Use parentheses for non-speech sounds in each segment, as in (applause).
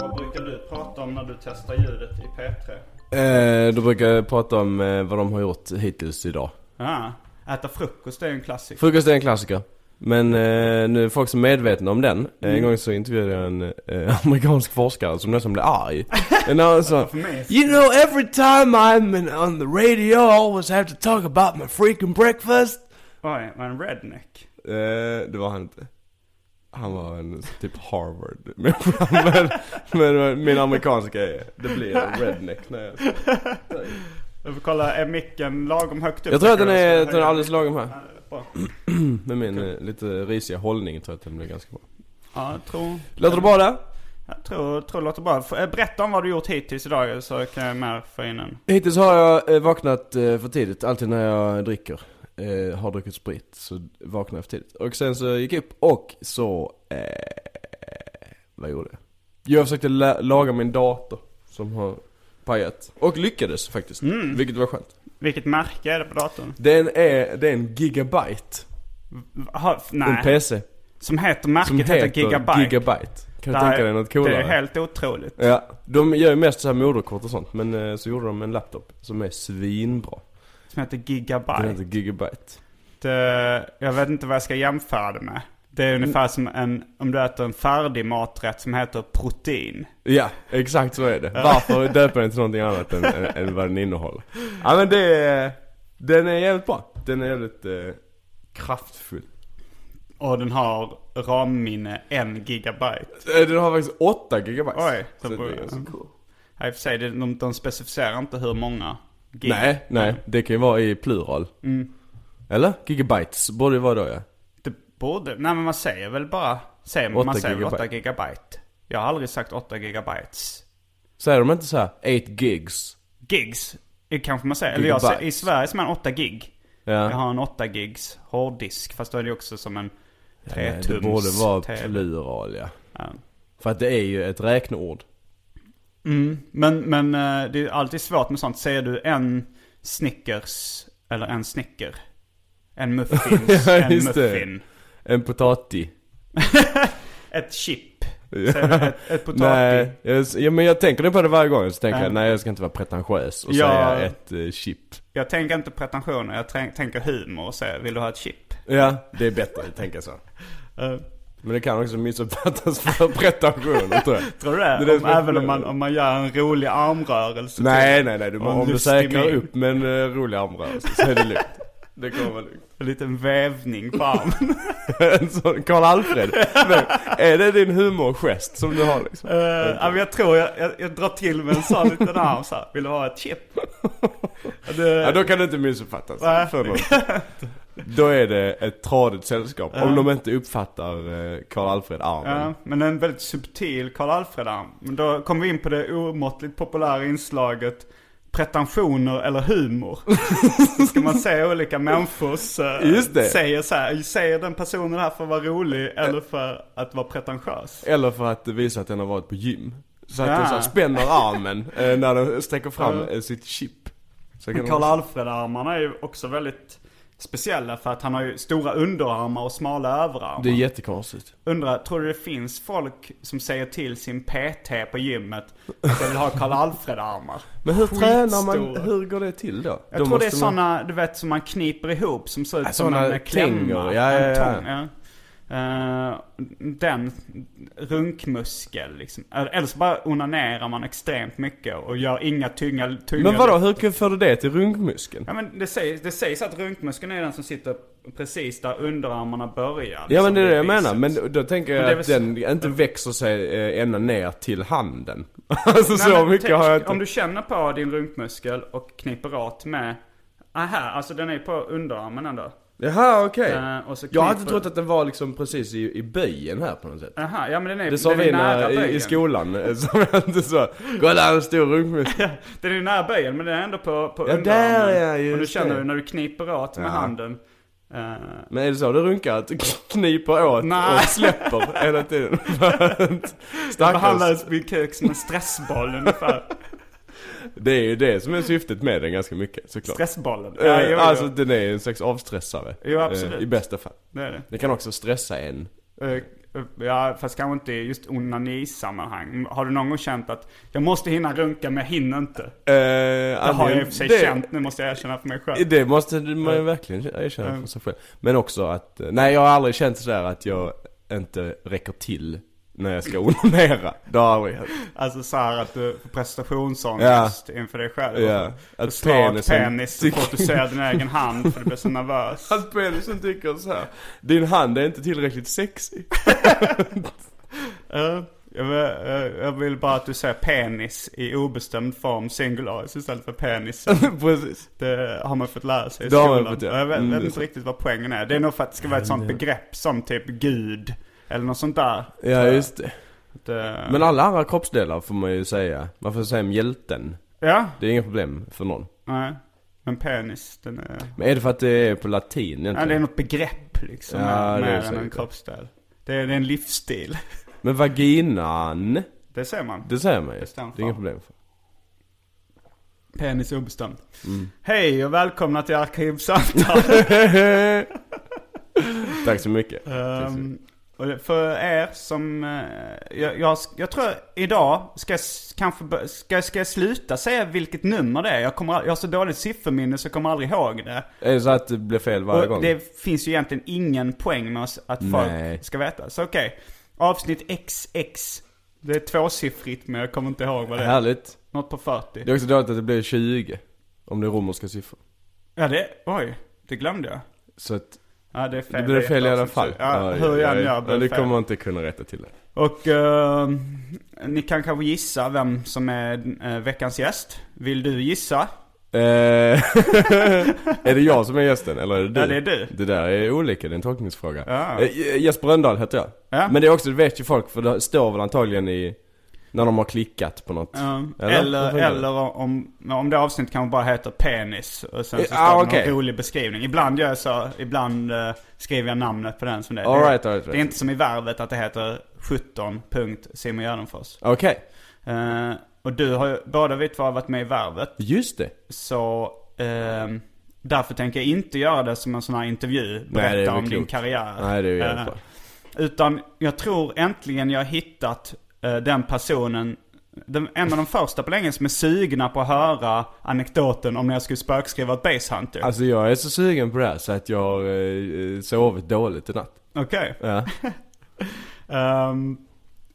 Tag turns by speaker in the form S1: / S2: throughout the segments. S1: Vad brukar du prata om när du testar ljudet i P3?
S2: Eh, då brukar jag prata om eh, vad de har gjort hittills idag.
S1: Ah, äta frukost är ju en klassiker.
S2: Frukost är en klassiker. Men eh, nu är folk som är medvetna om den. Eh, En gång så intervjuade jag en eh, (laughs) amerikansk forskare som nästan blev (laughs) arg. And han sa You know every time I'm in, on the radio I always have to talk about my freaking breakfast.
S1: Oj, var en redneck?
S2: Eh, det var han inte. Han var en typ Harvard. (laughs) Men, men, men min amerikanska är, det blir en redneck när jag
S1: Du får kolla, är micken lagom högt upp?
S2: Jag tror att den är, den är alldeles lagom här. (clears throat)
S1: Bra.
S2: Med min eh, lite risiga hållning tror jag att den blir ganska bra.
S1: Ja, jag tror,
S2: Låter det bra där?
S1: jag tror, tror det låter bra. F- eh, Berätta om vad du gjort hittills idag så kan jag mer få in en.
S2: Hittills har jag eh, vaknat eh, för tidigt, alltid när jag dricker. Eh, har druckit sprit, så vaknar jag för tidigt. Och sen så gick jag upp och så, eh, vad gjorde jag? Jo, Jag försökte la- laga min dator som har pajat. Och lyckades faktiskt,
S1: Mm.
S2: vilket var skönt.
S1: Vilket märke är det på datorn?
S2: Den är, det är en gigabyte.
S1: Ha, f- nej,
S2: En PC.
S1: som heter märket heter Gigabyte.
S2: Gigabyte. Kan
S1: Det
S2: du
S1: här-
S2: tänka dig något coolare?
S1: Det är helt otroligt.
S2: Ja, de gör ju mest så här moderkort och sånt. Men eh, så gjorde de en laptop som är svinbra.
S1: Som heter
S2: Den
S1: Gigabyte.
S2: heter Gigabyte.
S1: eh, jag vet inte vad jag ska jämföra det med. Det
S2: Mm.
S1: är ungefär som en, om du äter en färdig maträtt som heter protein.
S2: Ja, exakt så är det. Varför döpa den till någonting annat än, än, än vad den innehåller? Ja men det är, den är jävligt bra. Den är jävligt eh, kraftfull.
S1: Och den har RAM-minne 1 gigabyte.
S2: Eh, Den har faktiskt 8 gigabyte.
S1: Oj,
S2: så
S1: så
S2: det
S1: bra.
S2: är ganska cool.
S1: Ja, I och för sig, det- de, de specificerar inte hur många gig.
S2: Nej, nej. Det kan ju vara i plural. Eller? Gigabytes borde det vara då ja.
S1: Det borde, nej men man säger väl bara, säger, man
S2: Åtta
S1: säger väl 8
S2: gigabyte.
S1: gigabyte. Jag har aldrig sagt 8 gigabytes.
S2: Säger de inte så här 8 gigs?
S1: Gigs, det kanske man säger. Eller jag, säger- i
S2: Gigabytes.
S1: Sverige säger man 8 gig. Jag
S2: Ja.
S1: har en 8 gigs hårddisk, fast då är det också som en
S2: Nej,
S1: 3
S2: det borde vara plural ja.
S1: Ja.
S2: För att det är ju ett räkneord.
S1: Mm. Men, men eh, det är alltid svårt med sånt. Säger du en Snickers eller en Snicker? En muffins,
S2: (laughs) Ja,
S1: en
S2: just det.
S1: muffin.
S2: En potati.
S1: Ett chip. Säger du ett, ett potatis.
S2: Nej, jag, ja, men jag tänker nu på det varje gång. Så tänker
S1: Ja.
S2: jag, nej jag ska inte vara pretentiös och
S1: Ja.
S2: säga ett eh, chip.
S1: Jag tänker inte pretensioner, jag trän- tänker humor och säger vill du ha ett chip?
S2: Ja, det är bättre att tänka så.
S1: Eh,
S2: Men det kan också missuppfattas för (laughs) pretensioner tror jag.
S1: tror du det?
S2: är det
S1: om,
S2: som är
S1: även om man,
S2: (laughs) problemet.
S1: om man gör en rolig armrörelse.
S2: Nej,
S1: till-
S2: nej, nej. Du,
S1: och en
S2: om du
S1: lustig
S2: säkrar
S1: min.
S2: upp med en eh, rolig armrörelse så är det lugnt. (laughs) Det kommer vara lugnt.
S1: En liten vävning på armen. (laughs)
S2: En sån (laughs) Karl-Alfred. Är det din humorgest som du har liksom?
S1: Eh, ja, men jag tror jag, jag, jag drar till med en sån
S2: (laughs)
S1: liten arm så här. Vill du ha ett chip? Ja, det-
S2: Ja, då kan det inte missuppfattas.
S1: Nej.
S2: För någon. Då är det ett tradigt sällskap. Om de inte uppfattar eh, Karl-Alfred armen.
S1: Ja, men en väldigt subtil Karl Alfred där. Men då kommer vi in på det omåttligt populära inslaget pretensioner eller
S2: (laughs)
S1: humor. så ska man se olika människors... eh,
S2: Just det.
S1: Säger så här, säger den personen här för att vara rolig eller för att vara pretentiös?
S2: Eller för att visa att den har varit på gym. Så att den så här spänner armen eh, när den sträcker fram eh, sitt chip. Så kan
S1: Karl
S2: de-
S1: Alfred-armarna är ju också väldigt speciella för att han har ju stora underarmar och smala överarmar.
S2: Det är jättekonstigt.
S1: Undrar, tror du det finns folk som säger till sin PT på gymmet att jag vill ha Karl Alfred-armar?
S2: Men hur tränar man,
S1: Skitstora.
S2: hur går det till då?
S1: Jag tror det är sådana, du vet, som man kniper ihop som ser ut
S2: Ja,
S1: som
S2: såna
S1: en eh, klämma.
S2: tänger. Ja, ja,
S1: en
S2: ja.
S1: tång, ja. Eh, den runkmuskel liksom. Eller så bara onanerar man extremt mycket och gör inga tunga... tunga
S2: Men vadå, hur kan- för du det till runkmuskeln?
S1: Ja men det sägs, det sägs att runkmuskeln är den som sitter precis där underarmarna börjar. liksom,
S2: Ja men det är det jag
S1: vid biceps.
S2: menar, men då tänker jag
S1: Men det är
S2: att
S1: väl
S2: den inte växer sig eh, ända ner till handen. (laughs) Alltså
S1: Nej,
S2: så
S1: men
S2: mycket
S1: tänk,
S2: har jag inte.
S1: Om du känner på din runkmuskel och kniper åt med... Ah, här, alltså den är på underarmen ändå.
S2: Jaha okej.
S1: Eh, och så
S2: jag hade
S1: kniper-
S2: trott att den var liksom precis i, i böjen här på något sätt.
S1: Aha, ja Eh, men den är,
S2: Det sa
S1: den
S2: vi
S1: är nära
S2: när, i, i
S1: böjen.
S2: skolan, eh, (laughs) som jag inte sa. Kolla en stor runkmuskel.
S1: Den är nära böjen men den är ändå på, på
S2: Ja,
S1: underarmen.
S2: där, ja, just
S1: och du känner
S2: det.
S1: när du kniper åt med
S2: Ja.
S1: handen. eh,
S2: Men är det så du runkar? Att du kniper åt
S1: Nej.
S2: och släpper
S1: (laughs)
S2: hela tiden? Stackars.
S1: behandlades min kuk som en stressboll
S2: (laughs)
S1: ungefär.
S2: Det är ju det som är syftet med den ganska mycket såklart.
S1: Stressbollen.
S2: Eh,
S1: Ja, jo, jo.
S2: alltså den är en slags avstressare.
S1: Jo, absolut.
S2: Eh, I bästa fall.
S1: Det är det.
S2: Det kan också stressa en.
S1: Eh, eh, Ja, fast kanske inte i just onani-sammanhang. Har du någon gång känt att jag måste hinna runka men jag hinner inte?
S2: Eh,
S1: Det har jag i och för sig
S2: det,
S1: känt, nu måste jag erkänna för mig själv.
S2: Det måste man ju verkligen erkänna för sig själv. Men också att, eh, nej jag har aldrig känt sådär att jag inte räcker till när jag ska (laughs) onanera. Det har aldrig hänt.
S1: Alltså så här att du får prestationsångest inför dig själv.
S2: Ja.
S1: Att
S2: Att
S1: slå ett
S2: penisen-
S1: penis så fort du ser din egen hand för du blir så nervös.
S2: Att penisen liksom tycker så här. din hand är inte tillräckligt sexig.
S1: Eh, jag, vill, eh, jag vill bara att du säger penis i obestämd form singularis istället för penis.
S2: (laughs) Precis.
S1: Det har man fått lära sig i
S2: Det har man
S1: skolan.
S2: fått göra.
S1: Jag vet,
S2: Mm, det
S1: vet
S2: är
S1: inte
S2: sant.
S1: riktigt vad poängen är. Det är nog för att det ska vara ett sånt begrepp som typ gud. Eller något sånt där. eh,
S2: Ja just det.
S1: Det-
S2: Men alla andra kroppsdelar får man ju säga. Man får säga mjälten.
S1: Ja,
S2: Det är inget problem för någon.
S1: nej. Men penis, den är...
S2: Men är det för att det är på latin egentligen?
S1: Ja, det är något begrepp liksom.
S2: Ja,
S1: mer-
S2: det är
S1: mer än
S2: säkert
S1: en
S2: det.
S1: kroppsdel. Det är, det är en livsstil. (laughs)
S2: Men vaginan,
S1: Det ser man.
S2: det säger man ju. Det
S1: Bestämt
S2: är inget problem. För.
S1: Penis obestämd.
S2: Mm.
S1: Hej och välkomna till
S2: (laughs)
S1: Arkivsamtal.
S2: Tack så mycket. Tack så mycket.
S1: Ehm, och det- för er som, eh, jag, jag, jag tror idag ska jag s- kanske, bör- ska, ska jag sluta säga vilket nummer det är? Jag, kommer, all- jag har så dåligt sifferminne så jag kommer aldrig ihåg det.
S2: Är det så att det blir fel varje
S1: och
S2: gång?
S1: det finns ju egentligen ingen poäng med oss att
S2: Nej.
S1: folk ska veta. Så okej, avsnitt XX. Det är tvåsiffrigt men jag kommer inte ihåg vad det är.
S2: Härligt.
S1: Något på 40.
S2: Det är också dåligt att det blir 20. Om det är romerska siffror.
S1: Ja det, oj, det glömde jag.
S2: Så att
S1: Ja det är fel.
S2: det blir
S1: är
S2: fel i
S1: ett
S2: alla
S1: avsnitt.
S2: fall.
S1: Ja,
S2: Aj,
S1: hur jag än
S2: aj,
S1: gör
S2: aj.
S1: blir
S2: Ja,
S1: det
S2: det
S1: fel.
S2: kommer man inte kunna rätta till det.
S1: Och eh, ni kan kanske gissa vem som är eh, veckans gäst. Vill du gissa?
S2: Eh, (laughs) är det jag som är gästen eller är det du?
S1: Ja, det är du.
S2: Det där är olika, det är en tolkningsfråga.
S1: Ja.
S2: Eh, Jesper Rönndahl heter jag.
S1: Ja.
S2: Men det är också, det vet ju folk för det står väl antagligen i, när de har klickat på något.
S1: Eh,
S2: Hur
S1: eller
S2: funkar det?
S1: eller om, om det avsnittet kan man bara heta penis och sen så
S2: Eh,
S1: står
S2: ah,
S1: det
S2: okej.
S1: någon rolig beskrivning. Ibland gör jag så, ibland eh, skriver jag namnet på den som det är.
S2: All
S1: Det är-
S2: right, all right,
S1: det är
S2: right.
S1: inte som i Värvet att det heter 17.Simon Gärdenfors.
S2: Okej,
S1: Eh, och du har ju, båda vi två har varit med i Värvet.
S2: just det.
S1: Så ehm, därför tänker jag inte göra det som en sån här intervju.
S2: det är
S1: Berätta
S2: väl
S1: om din
S2: klokt.
S1: karriär.
S2: Nej det är ju jävligt
S1: Eh,
S2: bra.
S1: Utan jag tror äntligen jag har hittat eh, den personen, den, en av de första på länge som är sugna på att höra anekdoten om när jag skulle spökskriva ett basehunter.
S2: Alltså jag är så sugen på det här så att jag har eh, sovit dåligt i natt.
S1: Okej.
S2: Ja.
S1: (laughs) Ehm,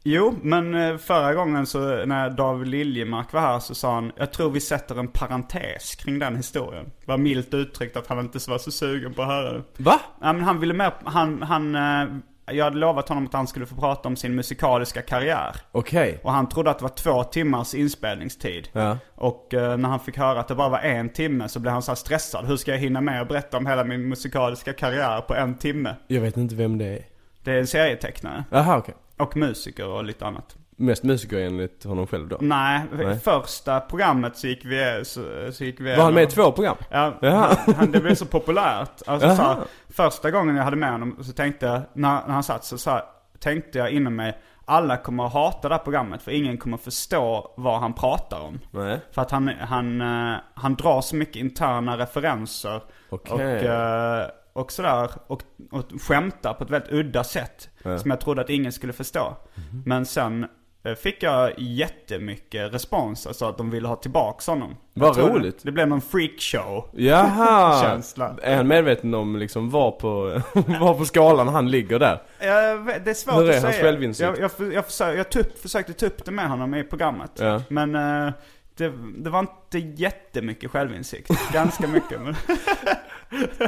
S1: jo, men eh, förra gången så när David Liljemark var här så sa han, jag tror vi sätter en parentes kring den historien. Det var milt uttryckt att han inte var så sugen på att höra det.
S2: Va?
S1: Ja, men han ville med, han, han, eh, jag hade lovat honom att han skulle få prata om sin musikaliska karriär.
S2: Okej.
S1: Och han trodde att det var två timmars inspelningstid.
S2: Ja.
S1: Och eh, när han fick höra att det bara var en timme så blev han så här stressad. Hur ska jag hinna med att berätta om hela min musikaliska karriär på en timme?
S2: Jag vet inte vem det är.
S1: Det är en serietecknare.
S2: Jaha okej.
S1: Och musiker och lite annat.
S2: Mest musiker enligt honom själv då.
S1: Nej,
S2: Nej.
S1: första programmet så gick vi, så, så gick vi
S2: Var han med i
S1: igenom-
S2: två program?
S1: Ja,
S2: Jaha.
S1: han, han, det blev så populärt. Alltså,
S2: Jaha.
S1: så här, första gången jag hade med honom så tänkte jag, när, när han satt så, så här, tänkte jag inom mig Alla kommer att hata det här programmet för ingen kommer att förstå vad han pratar om.
S2: Nej.
S1: För att han, han, eh, han drar så mycket interna referenser
S2: Okej.
S1: och, eh, och sådär. Och, och skämtar på ett väldigt udda sätt. Som jag trodde att ingen skulle förstå.
S2: Mhm.
S1: Men sen eh, fick jag jättemycket respons. Alltså att de ville ha tillbaks honom.
S2: Vad
S1: Jag tror
S2: roligt.
S1: Det, det blev någon freakshow. (laughs)
S2: Jaha!
S1: Känsla.
S2: Är han medveten om liksom var på, (laughs) var på skalan han ligger där?
S1: Jag vet- Det är svårt
S2: Hur är
S1: att
S2: hans
S1: säga.
S2: självinsikt?
S1: Jag, jag, för- jag, försökte, jag tupp, försökte ta upp det med honom i programmet.
S2: Ja.
S1: Men eh, det, det var inte jättemycket självinsikt. Ganska mycket. Men, (laughs)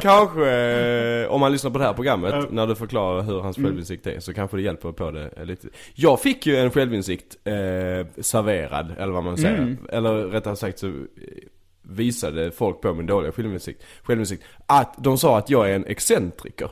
S2: Kanske, eh, om man lyssnar på det här programmet, när du förklarar hur hans
S1: Mm.
S2: självinsikt är, så kanske det hjälper på det eh, lite. Jag fick ju en självinsikt eh, serverad, eller vad man säger.
S1: Mm.
S2: Eller rättare sagt så eh, visade folk på min dåliga självinsikt, självinsikt att de sa att jag är en excentriker.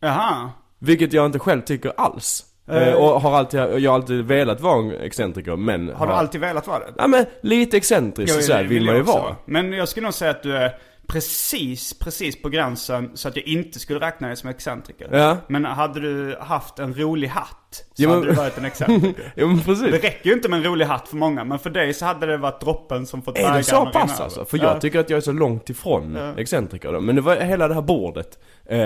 S1: jaha.
S2: Vilket jag inte själv tycker alls. Eh, och har alltid, jag har alltid velat vara en excentriker, men...
S1: Har du alltid velat vara det?
S2: Ja men lite excentrisk så här
S1: det
S2: vill man ju
S1: jag också
S2: vara.
S1: Men jag skulle nog säga att du är precis, precis på gränsen så att jag inte skulle räkna dig som excentriker.
S2: Ja.
S1: Men hade du haft en rolig hatt så
S2: Ja, men-
S1: hade du varit en excentriker.
S2: (laughs) Jo men precis.
S1: Det räcker ju inte med en rolig hatt för många, men för dig så hade det varit droppen som fått
S2: Är det så
S1: rinna
S2: pass
S1: över.
S2: alltså? För
S1: Ja.
S2: jag tycker att jag är så långt ifrån excentriker då. Men det var hela det här bordet eh,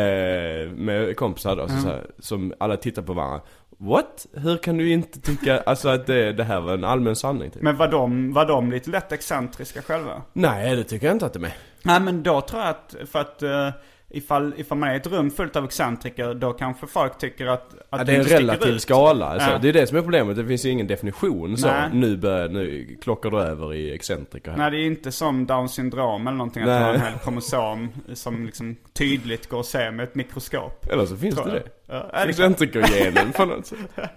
S2: med kompisar då, så så här, som alla tittar på varandra. What? Hur kan du inte tycka alltså, att det, det här var en allmän sanning? Typ?
S1: Men var de, var de lite lätt excentriska själva?
S2: Nej, det tycker jag inte att det är.
S1: Nej men då tror jag att, för att uh, ifall, ifall man är i ett rum fullt av excentriker då kanske folk tycker att, att
S2: Ja,
S1: du
S2: det är en
S1: inte sticker
S2: relativ
S1: ut.
S2: skala. Alltså.
S1: Ja.
S2: Det är det som är problemet. Det finns ju ingen definition så.
S1: Nej.
S2: Nu, börjar, nu klockar du över i excentriker här.
S1: Nej det är inte som down syndrom eller någonting att
S2: Nej.
S1: du har en hel kromosom som liksom tydligt går att se med ett mikroskop.
S2: Eller så finns
S1: Tror
S2: det
S1: jag.
S2: det.
S1: Ja, är det
S2: Excentrikergenen på något sätt.
S1: (laughs)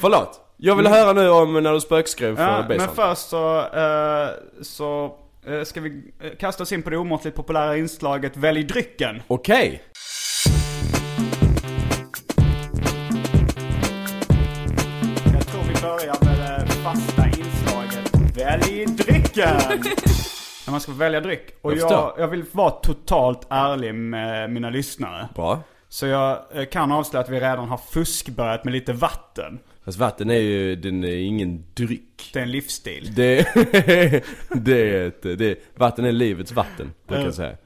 S2: Förlåt. Jag vill höra nu om när du spökskrev för
S1: Mm. Ja,
S2: ja,
S1: men först så, eh, så eh, ska vi eh, kasta oss in på det omåttligt populära inslaget Välj drycken.
S2: Okej.
S1: Jag tror vi börjar med det fasta inslaget Välj
S2: (laughs)
S1: drycken! När man ska välja dryck. Och
S2: Jag
S1: jag, jag,
S2: förstår.
S1: vill vara totalt ärlig med mina lyssnare.
S2: Bra.
S1: Så jag eh, kan avslöja att vi redan har fuskbörjat med lite vatten.
S2: Fast vatten är ju, den är ingen dryck.
S1: Det är en livsstil.
S2: Det, (laughs) det är ett, det, vatten är livets vatten, brukar jag säga.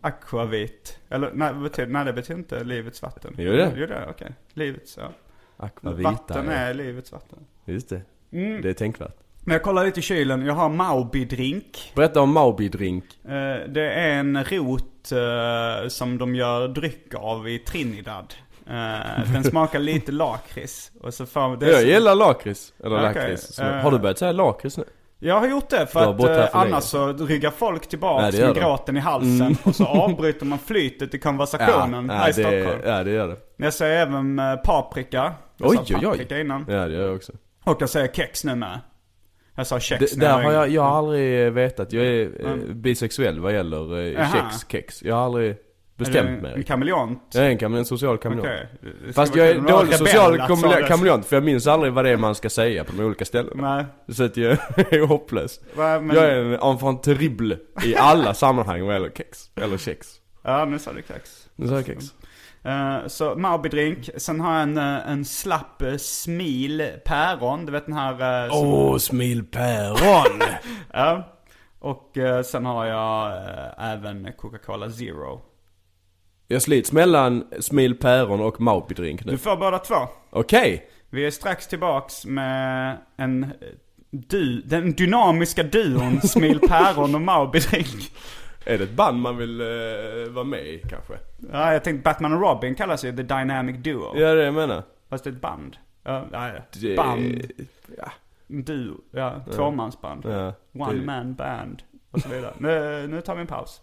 S1: Aquavit. Eller nej, vad betyder, nej det betyder inte livets vatten.
S2: Gör det?
S1: Gör det, okej. Livets, ja.
S2: Aquavita.
S1: vatten
S2: ja.
S1: är Mm. livets vatten.
S2: Just det. Det är tänkvärt.
S1: Men jag kollar lite i kylen, jag har Maubi-drink.
S2: Berätta om Maubi-drink.
S1: Eh, Det är en rot eh, som de gör dryck av i Trinidad. Eh, Den
S2: (laughs)
S1: smakar lite lakrits. Och så får det är
S2: Jag
S1: så-
S2: gillar lakrits. Eller
S1: Alltså, Okej,
S2: lakrits.
S1: eh.
S2: Har du börjat säga lakrits nu?
S1: Jag har gjort det för
S2: Du har bott
S1: att
S2: här
S1: eh,
S2: för länge.
S1: annars så ryggar folk
S2: Nej,
S1: tillbaka
S2: det gör
S1: med
S2: de.
S1: gråten i halsen och så avbryter man flytet i konversationen här i
S2: det,
S1: Stockholm.
S2: (laughs) ja, det gör det.
S1: Jag säger även eh, paprika. Jag
S2: Oj,
S1: sa
S2: oj, oj.
S1: paprika innan.
S2: Ja, det gör jag också.
S1: Och jag säger kex nu med. Jag sa kex
S2: Det,
S1: när
S2: där
S1: var
S2: har
S1: yngre.
S2: jag, jag har aldrig eh, vetat. Jag är eh,
S1: Mm.
S2: bisexuell vad gäller eh,
S1: Aha.
S2: kex, kex. Jag har aldrig
S1: Är du en-
S2: bestämt
S1: En
S2: mig.
S1: kameleont.
S2: Jag är en, kam- en social kameleont.
S1: Okej. Det skulle
S2: Fast
S1: vara
S2: jag
S1: kul
S2: är
S1: om det var
S2: dålig
S1: rebell
S2: social
S1: att
S2: kamele-
S1: sa det.
S2: kameleont för jag minns aldrig vad det är man ska säga på de olika ställena.
S1: Nej.
S2: Så att jag (laughs) är hopplös.
S1: Va, men-
S2: Jag är en enfant terrible i alla sammanhang vad gäller kex. Eller kex.
S1: Ja, nu sa du kex.
S2: Nu sa jag kex.
S1: Eh, så Maubi-drink. Sen har jag en, eh, en slapp eh, smil päron. Du vet den här... eh, som-
S2: Åh, smilpäron!
S1: Ja. Och eh, sen har jag eh, även Coca-Cola Zero.
S2: jag slits mellan smilpäron och Maupi-drink
S1: Du
S2: nu.
S1: får båda två.
S2: Okej!
S1: Vi är strax tillbaks med en eh, du, den dynamiska duon
S2: (laughs)
S1: Smil Päron och Maubi-drink.
S2: Är det ett band man vill eh, vara med i kanske?
S1: Ja, jag tänkte Batman och Robin kallas ju The Dynamic Duo.
S2: Ja, det är det jag menar.
S1: Fast det är ett band. Ja, ja, ja.
S2: Det-
S1: Band,
S2: Ja.
S1: duo, ja, tvåmansband.
S2: Ja.
S1: One
S2: Det-
S1: man band. Och så vidare. Nu, nu tar vi en paus.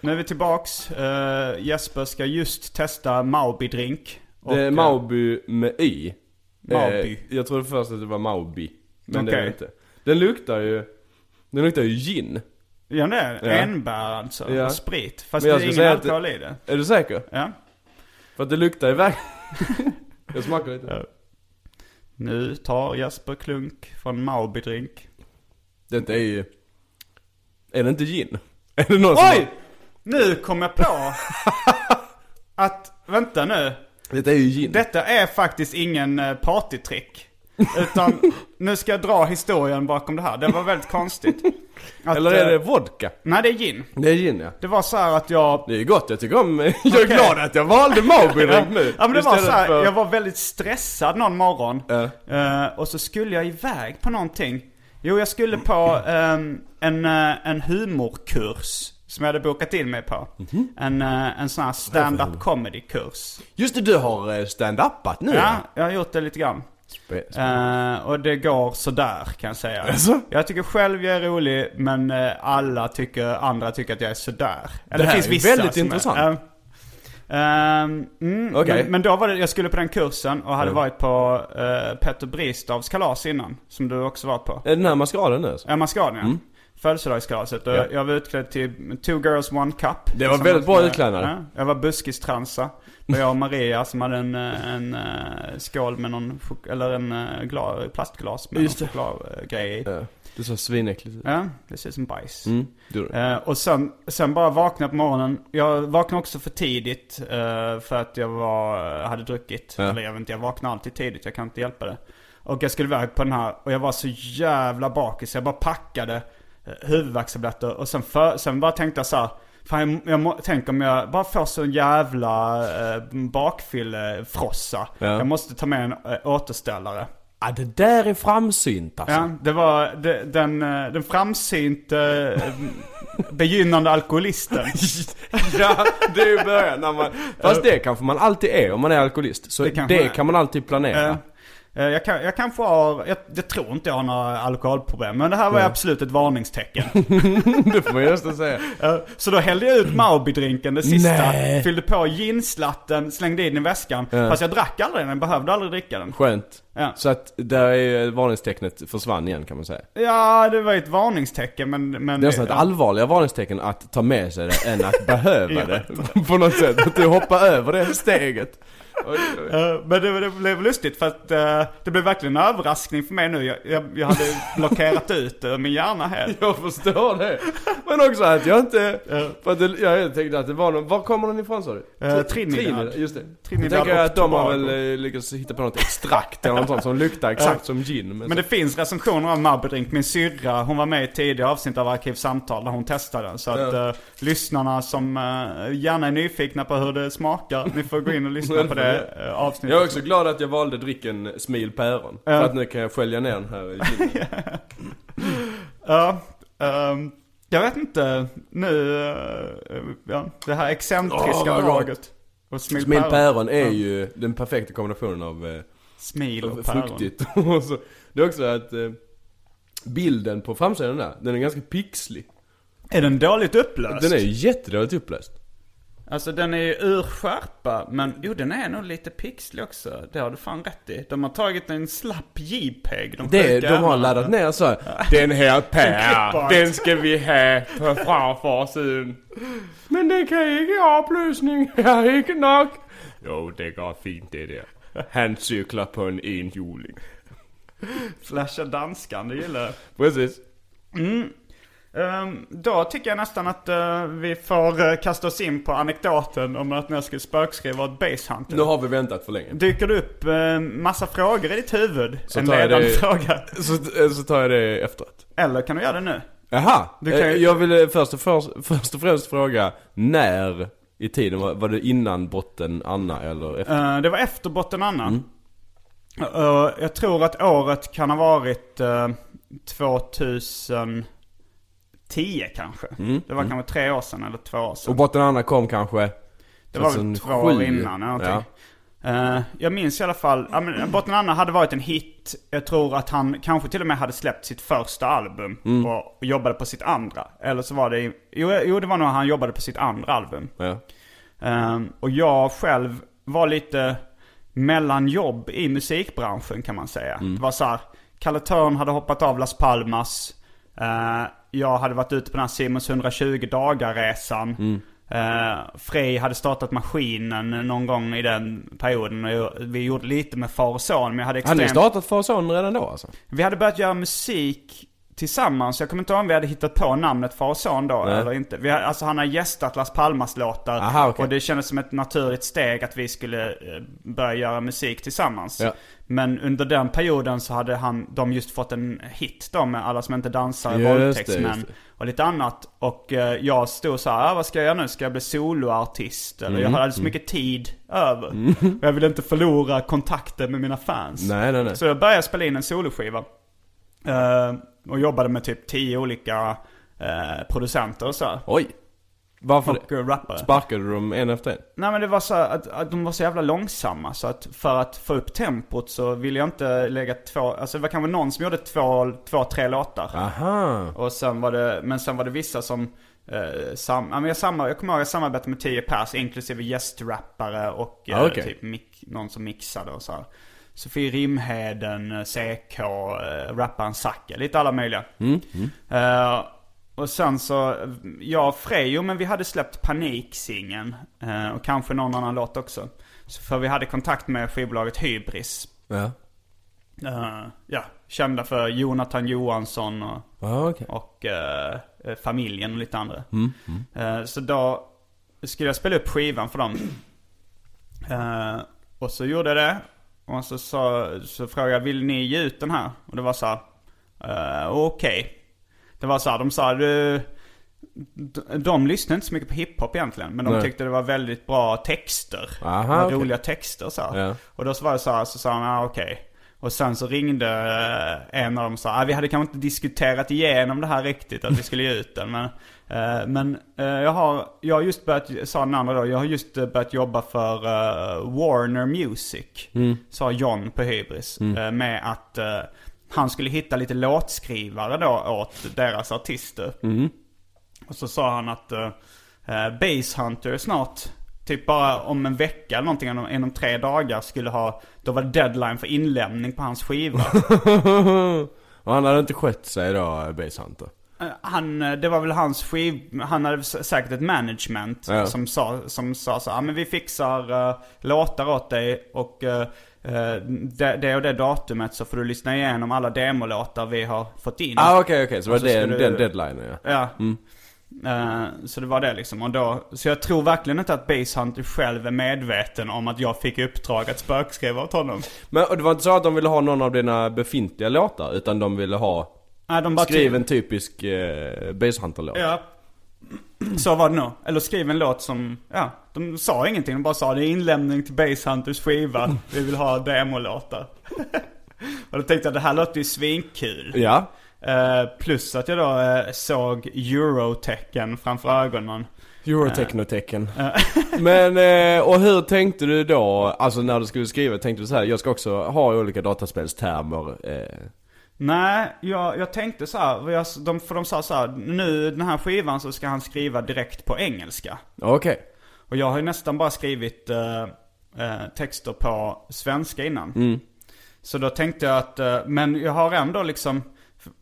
S1: Nu är vi tillbaks. Eh, Jesper ska just testa Maubi-drink. Och,
S2: Det är
S1: eh,
S2: Mauby med i.
S1: Mauby.
S2: Eh, jag trodde först att det var Mauby. Men det är det
S1: Okej.
S2: inte. Den luktar ju, den luktar ju gin.
S1: Ja det är det.
S2: Ja.
S1: Enbär alltså.
S2: Ja.
S1: Och sprit. Fast
S2: Men jag
S1: det är
S2: skulle
S1: ingen
S2: säga att det-
S1: alkohol i det.
S2: Är du säker?
S1: Ja. (laughs)
S2: För att det luktar ju verkligen... jag smakar lite.
S1: Nu tar Jesper klunk från Mauby drink.
S2: Detta är ju... Är det inte gin? Är det någon som...
S1: Oj! Nu kom jag på (laughs) att, vänta nu.
S2: har- Detta är ju gin.
S1: Detta är faktiskt ingen eh, partytrick. Utan nu ska jag dra historien bakom det här. Det var väldigt konstigt. Att,
S2: Eller är det
S1: eh,
S2: vodka?
S1: Nej, det är gin.
S2: Det är gin ja.
S1: Det var så här att jag...
S2: Det är ju gott, jag tycker om... (laughs) Jag är
S1: Okej.
S2: glad att jag valde Mauby drink nu.
S1: (laughs) Ja men det var
S2: Istället
S1: så här,
S2: för-
S1: jag var väldigt stressad någon morgon.
S2: Ja.
S1: Eh, och så skulle jag iväg på någonting. Jo, jag skulle på ehm, en, eh, en humorkurs. Som jag hade bokat in mig på.
S2: Mhm.
S1: En, eh, en sån här stand-up comedy-kurs.
S2: Just det, du har eh, stand-upat nu
S1: Ja, jag har gjort det lite grann.
S2: Spe-
S1: Eh, och det går sådär kan jag säga.
S2: Alltså?
S1: Jag tycker själv jag är rolig men eh, alla tycker, andra tycker att jag är sådär.
S2: Det här är ju väldigt
S1: som
S2: intressant.
S1: eh, ehm, mm,
S2: Okej.
S1: men, men då var det, jag skulle på den kursen och hade varit på eh, Petter Bristavs kalas innan. Som du också varit på.
S2: Är den här maskaraden nu alltså?
S1: Ja, mascaraden ja. Födelsedagskalaset. Och Jag var utklädd till Two Girls One Cup.
S2: Det var
S1: Tillsammans
S2: väldigt bra
S1: med-
S2: utklädnad.
S1: Ja, jag var buskistransa. Och jag och Maria som hade en, eh, en eh, skål med någon, chok- eller en eh, gla- plastglas med
S2: Just
S1: någon chokladgrej i.
S2: Ja. Det såg svinäckligt ut.
S1: Ja, det ser ut som bajs.
S2: Mm, det gjorde det.
S1: Eh, och sen, sen bara vaknade på morgonen. Jag vaknade också för tidigt eh, för att jag var, hade druckit.
S2: Ja.
S1: Eller jag vet inte, jag vaknar alltid tidigt. Jag kan inte hjälpa det. Och jag skulle iväg på den här och jag var så jävla bakis. Jag bara packade eh, huvudvärkstabletter och sen, för, sen bara tänkte jag så här. Fan, jag, jag må, tänk om jag bara får så en jävla eh, bakfyllefrossa.
S2: Ja.
S1: Jag måste ta med en eh, återställare.
S2: Ja, det där är framsynt alltså.
S1: Ja, det var de, den, eh, den framsynte eh, begynnande
S2: (laughs)
S1: alkoholisten.
S2: (laughs) ja, det är ju början när man... Fast det kanske man alltid är om man är alkoholist. Så
S1: Det
S2: det,
S1: kanske man är.
S2: kan man alltid planera.
S1: Eh, eh, Jag, kan, jag kanske har, jag, jag tror inte jag har några alkoholproblem, men det här var ju absolut ett varningstecken.
S2: (laughs) Det får man ju nästan säga.
S1: Eh, Så då hällde jag ut Mauby-drinken, det sista,
S2: Nej.
S1: fyllde på ginslatten, slängde in i väskan. Fast jag drack aldrig den, jag behövde aldrig dricka den.
S2: Skönt.
S1: Ja.
S2: Så att där är ju varningstecknet försvann igen kan man säga.
S1: Ja, det var ju ett varningstecken men... men
S2: Det är nästan ett allvarligare varningstecken att ta med sig det än att
S1: (laughs)
S2: behöva det. På något sätt. Att du hoppar över det steget. Oj, oj.
S1: Eh, Men det, det blev lustigt för att eh, det blev verkligen en överraskning för mig nu. Jag, jag, jag hade blockerat ut det ur min hjärna helt.
S2: Jag förstår det. Men också att jag inte... För att det, jag tänkte att det var någon... Var kommer den ifrån sa du?
S1: Eh, Trinidad.
S2: Just det.
S1: Trinidad
S2: jag tänker
S1: och
S2: att de har
S1: Tobago.
S2: väl eh, lyckats hitta på något extrakt eller något sånt som luktar exakt som gin. Men,
S1: Men det finns recensioner av Mabbedrink. Min syrra, hon var med i ett tidigare avsnitt av Arkivsamtal där hon testade den. Så att eh, lyssnarna som eh, gärna är nyfikna på hur det smakar, ni får gå in och lyssna på
S2: (laughs)
S1: det eh, avsnittet.
S2: jag är också glad att jag valde drycken smil päron. För att nu kan jag skölja ner den här
S1: (laughs)
S2: ginen.
S1: Ja, ehm, jag vet inte, nu, eh, ja, det här excentriska
S2: Åh, vad gott.
S1: draget. Och smil
S2: Smil
S1: päron.
S2: päron är ju den perfekta kombinationen av eh,
S1: Smil och päron.
S2: fruktigt (laughs) och så. Det är också att eh, bilden på framsidan där, den är ganska pixlig.
S1: Är den dåligt upplöst?
S2: Den är ju jättedåligt uppläst.
S1: Alltså den är ju ur skärpa, men jo den är nog lite pixlig också. Det har du fan rätt i. De har tagit en slapp JPEG. De,
S2: Det,
S1: sjuka
S2: de har
S1: jävlarna.
S2: laddat ner så här. (laughs) Den här
S1: klippar.
S2: pär, den ska vi ha på framfarsen. Men det kan inte ha (laughs) upplösning, jag är inte nog. Jo, det går fint det där. Han cyklar på en enhjuling.
S1: Flasha danskan, det gillar jag.
S2: Precis.
S1: Ehm, Då tycker jag nästan att eh, vi får eh, kasta oss in på anekdoten om att när jag skulle spökskriva åt Basehunter.
S2: Nu har vi väntat för länge.
S1: Dyker det upp eh, massa frågor i ditt huvud?
S2: Så
S1: en
S2: tar jag
S1: (laughs) ledande
S2: det-
S1: fråga.
S2: Så, så tar jag det efteråt.
S1: Eller kan du göra det nu?
S2: Jaha,
S1: Du kan ju-
S2: eh, jag ville först och, först, först och främst fråga när i tiden, var, var det innan brotten Anna eller efter?
S1: Eh, det var efter Botten Anna.
S2: Mm.
S1: Eh, jag tror att året kan ha varit eh, 2010 kanske. Det var kanske tre år sedan eller två år
S2: Mm. Och
S1: sedan.
S2: brotten Anna kom kanske?
S1: Det var väl två år innan eller
S2: ja.
S1: någonting. Eh, jag minns i alla fall, ja, men eh, Botten Anna hade varit en hit. Jag tror att han kanske till och med hade släppt sitt första album
S2: Mm.
S1: och jobbade på sitt andra. Eller så var det, i- jo, jo det var nog han jobbade på sitt andra album.
S2: ja.
S1: Ehm, och jag själv var lite mellanjobb i musikbranschen kan man säga.
S2: Mm.
S1: Det var så här, Kalle Törn hade hoppat av Las Ehm,
S2: Mm.
S1: Palmas. Eh, jag hade varit ute på den här Simons 120 dagar-resan. Eh, Frej hade startat maskinen någon gång i den perioden. Och jag- vi gjorde lite med far och son. Men jag hade
S2: Hade ni
S1: extremt...
S2: startat Far och Son redan då alltså?
S1: Vi hade börjat göra musik tillsammans. Jag kommer inte ihåg om vi hade hittat på namnet far och son då
S2: Nej.
S1: eller inte. Vi har, alltså han har gästat Las Palmas låtar.
S2: Aha, okej.
S1: Och det kändes som ett naturligt steg att vi skulle eh, börja göra musik tillsammans.
S2: Ja.
S1: Men under den perioden så hade han, de just fått en hit då med Alla som inte dansar,
S2: Just det,
S1: Våldtäktsmän
S2: just det.
S1: och lite annat. Och eh, jag stod så här, "Ah, vad ska jag göra nu? Ska jag bli soloartist? Eller
S2: Mm.
S1: jag hade så mycket tid över.
S2: (laughs)
S1: Och jag ville inte förlora kontakten med mina fans.
S2: Nej, nej, nej.
S1: Så jag började spela in en soloskiva. Eh, och jobbade med typ tio olika eh, producenter och så. här.
S2: Oj! Varför
S1: Och
S2: det?
S1: eh, rappare.
S2: Sparkade du dem en efter en?
S1: Nej men det var så här att, att de var så jävla långsamma så att för att få upp tempot så ville jag inte lägga två, alltså det var kanske någon som gjorde två, två tre låtar.
S2: Aha!
S1: Och sen var det, men sen var det vissa som, eh, sam, ja, men jag, samma, jag kommer ihåg jag samarbetade med 10 pers inklusive gästrappare och eh,
S2: Ah, okej.
S1: typ mic, någon som mixade och så här. Sofie Rimheden, eh, CK, eh, rapparen Zacke, lite alla möjliga.
S2: Mm,
S1: Eh, och sen så, jag och Frej, jo men vi hade släppt Paniksingen eh, och kanske någon annan låt också. Så för vi hade kontakt med skivbolaget Hybris.
S2: Ja.
S1: Eh, ja, kända för Jonathan Johansson och
S2: Ah, okej. Mm,
S1: och eh, eh, familjen och lite andra. Eh, så då skulle jag spela upp skivan för dem. Eh, och så gjorde jag det. Och så, sa, så frågade jag, vill ni ge ut den här? Och det var så här, eh, okej. Det var så här, de sa, du, de, de lyssnade inte så mycket på hiphop egentligen. Men de
S2: Nej.
S1: tyckte det var väldigt bra texter.
S2: Aha,
S1: Det var
S2: okej.
S1: Roliga texter så här.
S2: Ja.
S1: Och då så var det så här, så sa han, ah, okej. Och sen så ringde eh, en av dem och sa, ah, vi hade kanske inte diskuterat igenom det här riktigt, att vi skulle ge ut den. Men, eh, men eh, jag har, jag har just börjat, sa den andra då, jag har just eh, börjat jobba för eh, Warner Music, sa John på Hybris, eh, med att eh, han skulle hitta lite låtskrivare då åt deras artister. Och så sa han att uh, Base Hunter snart, typ bara om en vecka eller någonting, inom, inom tre dagar skulle ha, då var det deadline för inlämning på hans skiva.
S2: (laughs) Och han hade inte skött sig då, Base Hunter?
S1: Eh, han, eh, det var väl hans skiv, han hade sä- säkert ett management
S2: Ja.
S1: som sa, som sa så här, "Ah, men vi fixar eh, låtar åt dig och eh, eh, det, det och det datumet så får du lyssna igenom alla demolåtar vi har fått in.
S2: Ah, okej, okej. Så var
S1: så
S2: det den,
S1: skulle
S2: den
S1: du-
S2: deadlinen ja.
S1: Ja. Eh, så det var det liksom. Och då, så jag tror verkligen inte att Basehunter själv är medveten om att jag fick i uppdrag att spökskriva åt honom.
S2: Men och det var inte så att de ville ha någon av dina befintliga låtar, utan de ville ha
S1: Nej, de bara typ-
S2: Skriv en typisk eh, Base Hunter-låt.
S1: Ja. Så var det nog. Eller skrev en låt som, ja, de sa ingenting. De bara sa det är inlämning till Basehunters skiva. Vi vill ha demolåtar. (laughs) och då tänkte jag det här låter ju svinkul.
S2: Ja.
S1: Eh, plus att jag då eh, såg Eurotecken framför ögonen.
S2: Eurotechnotecken. (laughs) Men, eh, och hur tänkte du då, alltså när du skulle skriva, tänkte du så här, jag ska också ha olika dataspelstermer. Eh,
S1: Nej, jag, jag tänkte så här, vad jag, de, för de sa så här, nu den här skivan så ska han skriva direkt på engelska.
S2: Okej.
S1: Och jag har ju nästan bara skrivit eh, eh, texter på svenska innan.
S2: Mm.
S1: Så då tänkte jag att, eh, men jag har ändå liksom,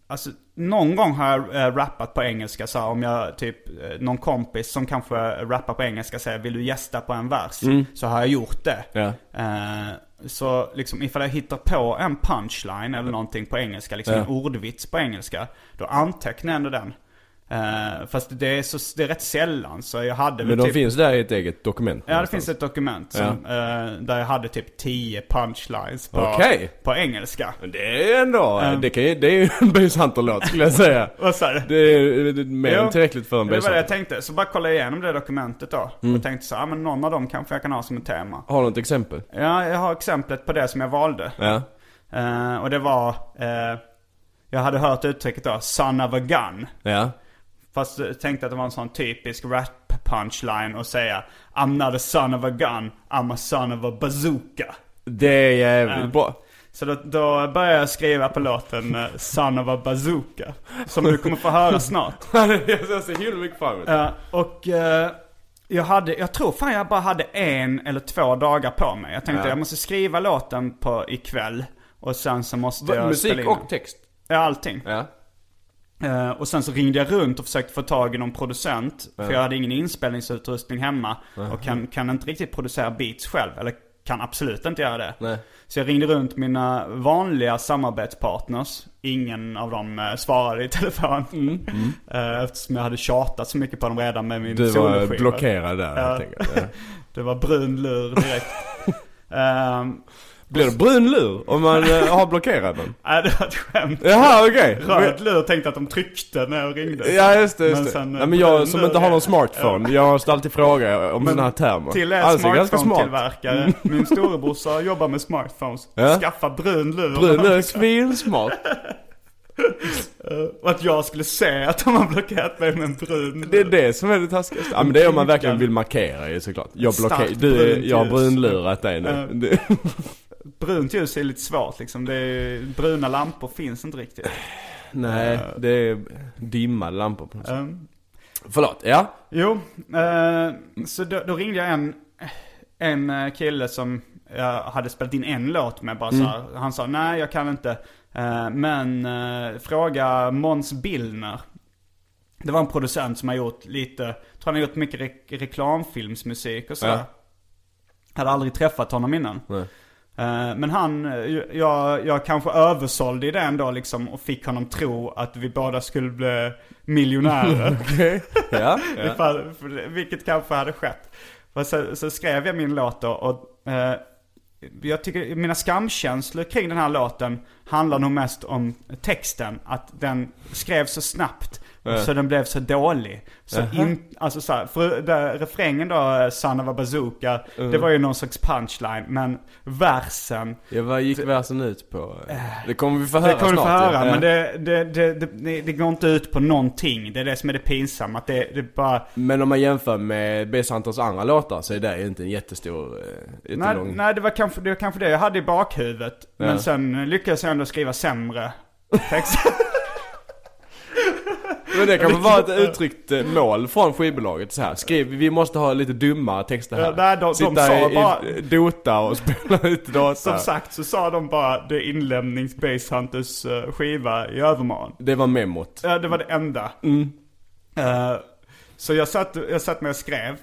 S1: alltså någon gång har jag eh, rappat på engelska så här, om jag typ, eh, någon kompis som kanske rappar på engelska säger vill du gästa på en vers? Så har jag gjort det.
S2: Mm. Ja.
S1: Eh, så liksom ifall jag hittar på en punchline eller någonting på engelska, liksom
S2: Ja.
S1: en ordvits på engelska, då antecknar jag ändå den. Eh, fast det är, så, det är rätt sällan, så jag hade
S2: Men
S1: väl
S2: de
S1: typ...
S2: finns där i ett eget dokument?
S1: Ja, det finns ett dokument som,
S2: Ja.
S1: eh, där jag hade typ 10 punchlines på,
S2: Okej.
S1: på engelska.
S2: Men Det är ändå, eh, det, kan, ju- det är ju (laughs) en Base Hunter-låt skulle jag säga.
S1: (laughs) Vad sa du?
S2: Det är det är mer
S1: Jo,
S2: än tillräckligt för en Mm.
S1: Det
S2: Base
S1: var det jag
S2: Hunter.
S1: tänkte. Så bara kollade jag igenom det dokumentet då. Och tänkte så här, "Ah, men någon av dem kanske jag kan ha som ett tema.
S2: Har du något exempel?
S1: Ja, jag har exemplet på det som jag valde.
S2: Ja.
S1: Eh, och det var, eh, jag hade hört uttrycket då, 'son of a gun'
S2: Ja.
S1: Fast jag tänkte att det var en sån typisk rap punchline och säga 'I'm not a son of a gun, I'm a son of a bazooka'
S2: Det är jävligt
S1: Ja.
S2: bra. (laughs)
S1: Så då, då började jag skriva på låten eh, 'Son of a bazooka' Som du kommer få höra snart. (laughs)
S2: jag ser så himla mycket fram emot.
S1: Eh, och eh, jag hade, jag tror fan jag bara hade en eller två dagar på mig. Jag tänkte
S2: Ja.
S1: jag måste skriva låten på ikväll och sen så måste
S2: Va-
S1: jag spela
S2: Musik
S1: in den.
S2: och text.
S1: Ja, allting.
S2: Ja.
S1: Eh, och sen så ringde jag runt och försökte få tag i någon producent. För jag hade ingen inspelningsutrustning hemma. Och kan, kan inte riktigt producera beats själv. Eller kan absolut inte göra det.
S2: Nej.
S1: Så jag ringde runt mina vanliga samarbetspartners. Ingen av dem eh, svarade i (laughs) telefon.
S2: Mm.
S1: Eh, eftersom jag hade tjatat så mycket på dem redan med min
S2: Du var
S1: soloskiva.
S2: blockerad där
S1: Ja.
S2: helt enkelt. Ja.
S1: Det var brun lur
S2: (laughs)
S1: direkt. Ehm,
S2: Blir det brun lur om man eh, har blockerat den?
S1: Nej, det var ett skämt.
S2: Jaha okej.
S1: Röd lur tänkte att de tryckte när jag ringde.
S2: Ja just det, just
S1: Men
S2: det.
S1: sen, eh,
S2: Nej, men jag
S1: brun
S2: som
S1: lur
S2: inte har
S1: är-
S2: någon smartphone, jag måste alltid fråga om sådana här termer.
S1: Till
S2: Alltså,
S1: er
S2: jag är ganska smart. (laughs)
S1: smartphone-tillverkare. Min storebrorsa jobbar med smartphones.
S2: Ja.
S1: Skaffa brun lur.
S2: Brun lur är svinsmart.
S1: Och att jag skulle se att de har blockerat mig med en brun
S2: Det är det som är det taskigaste. Ja men det är om man verkligen vill markera ju såklart. Jag blockerar,
S1: Starkt
S2: du,
S1: brunt
S2: jag har
S1: ljus.
S2: brunlurat
S1: Ja.
S2: dig nu. Du- (laughs)
S1: Brunt ljus är lite svårt liksom. Det är, bruna lampor finns inte riktigt.
S2: Nej, det är dimma lampor på något sätt.
S1: Ehm,
S2: Förlåt, ja.
S1: Jo, eh, så då, då ringde jag en, en eh, kille som jag hade spelat in en låt med bara
S2: Mm.
S1: så här. Han sa nej jag kan inte. Eh, men eh, fråga Måns Billner. Det var en producent som har gjort lite, tror han har gjort mycket re- reklamfilmsmusik och så.
S2: Ja.
S1: Hade aldrig träffat honom innan.
S2: Nej.
S1: Eh, Men han, eh, jag, jag kanske översålde i det ändå liksom och fick honom tro att vi båda skulle bli miljonärer.
S2: (laughs) Okej.
S1: (laughs)
S2: Ja, ja.
S1: Ifall, för det- vilket kanske hade skett. Och så, så skrev jag min låt då och eh, jag tycker mina skamkänslor kring den här låten handlar nog mest om texten. Att den skrevs så snabbt och så den blev så dålig. Så in, alltså så här, för där, refrängen då, eh, Sanna Bazooka, det var ju någon slags punchline. Men versen,
S2: ja. Vad gick versen ut på? Det kommer vi få höra
S1: Äh. det kommer du få
S2: snart.
S1: höra,
S2: ja.
S1: men det, det, det, det, det går inte ut på någonting. Det är det som är det pinsamma. Att det, det bara...
S2: Men om man jämför med B. Santos andra låtar så är det ju inte en jättestor, eh,
S1: Nej,
S2: jättelång...
S1: nej det, var kanske, det var kanske det jag hade i bakhuvudet. Men sen lyckades jag ändå skriva sämre text.
S2: Men det kanske var
S1: (laughs)
S2: ett uttryckt eh, mål från skivbolaget så här. Skriv, vi måste ha lite dumma texter här.
S1: Ja, nej, de- de
S2: Sitta
S1: sa
S2: i,
S1: bara-
S2: i Dota och spela (laughs) ut data.
S1: Som sagt så sa de bara det är inlämnings Base Hunters eh, skiva i övermorgon.
S2: Det var memot.
S1: Ja, det var det enda. Eh, så jag satt, jag satt med och skrev.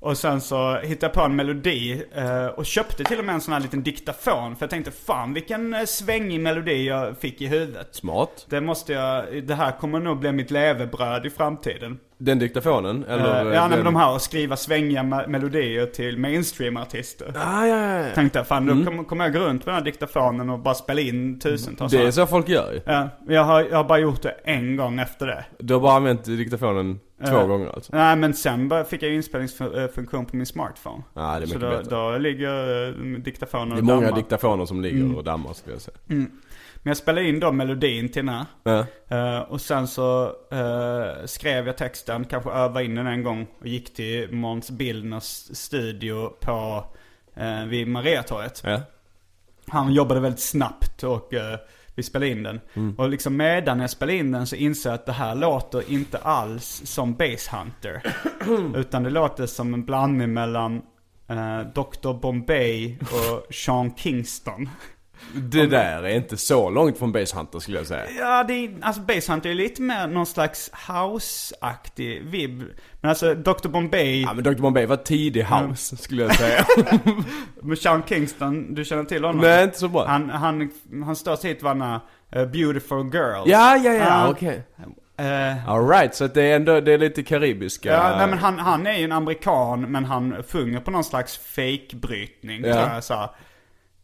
S1: Och sen så hittade jag på en melodi eh, och köpte till och med en sån här liten diktafon. För jag tänkte fan vilken eh, svängig melodi jag fick i huvudet.
S2: Smart.
S1: Det måste jag, det här kommer nog bli mitt levebröd i framtiden.
S2: Den diktafonen, eller?
S1: Eh,
S2: eh,
S1: ja, nej,
S2: den...
S1: men de här att skriva svängiga me- melodier till mainstream-artister.
S2: Ah, ja, Mm. ja, ja.
S1: Tänkte jag, fan då kommer kommer jag gå runt med den här diktafonen och bara spela in tusentals.
S2: Det är så folk gör ju.
S1: Ja, jag, har, jag har bara gjort det en gång efter det.
S2: Du har bara använt diktafonen två
S1: Ja.
S2: gånger alltså.
S1: Nej, men sen bara fick jag ju inspelningsfunktion på min smartphone.
S2: Ja, det är
S1: Så
S2: mycket
S1: då,
S2: bättre.
S1: då ligger eh, diktafonen
S2: Det
S1: och
S2: är många
S1: dammar. Mm.
S2: diktafoner som ligger och dammar skulle jag säga.
S1: Men jag spelade in då melodin till den här.
S2: Ja.
S1: Eh, och sen så eh, skrev jag texten, kanske övade in den en gång och gick till Måns Billners studio på, uh, vid Mariatorget.
S2: Ja.
S1: Han jobbade väldigt snabbt och eh, vi spelade in den.
S2: Mm.
S1: Och liksom medan jag spelade in den så insåg jag att det här låter inte alls som Base Hunter.
S2: (clears throat)
S1: utan det låter som en blandning mellan eh, Dr. Bombay och Sean Kingston.
S2: Det där är inte så långt från Base Hunter skulle jag säga.
S1: Ja, det är, alltså Base Hunter är lite mer någon slags house-aktig vibb. Men alltså Dr. Bombay,
S2: Ja men Dr. Bombay var tidig house skulle jag säga.
S1: med Sean Kingston, du känner till honom?
S2: Nej, inte så bra.
S1: Han, han, hans största hit var när, eh, Beautiful Girls.
S2: (laughs) Ja, ja, ja,
S1: Ah,
S2: okej.
S1: eh,
S2: Alright, så att det är ändå, det är lite karibiska.
S1: Ja, nej, men han, han är ju en amerikan men han sjunger på någon slags fake-brytning.
S2: Ja.
S1: tror jag, Så här.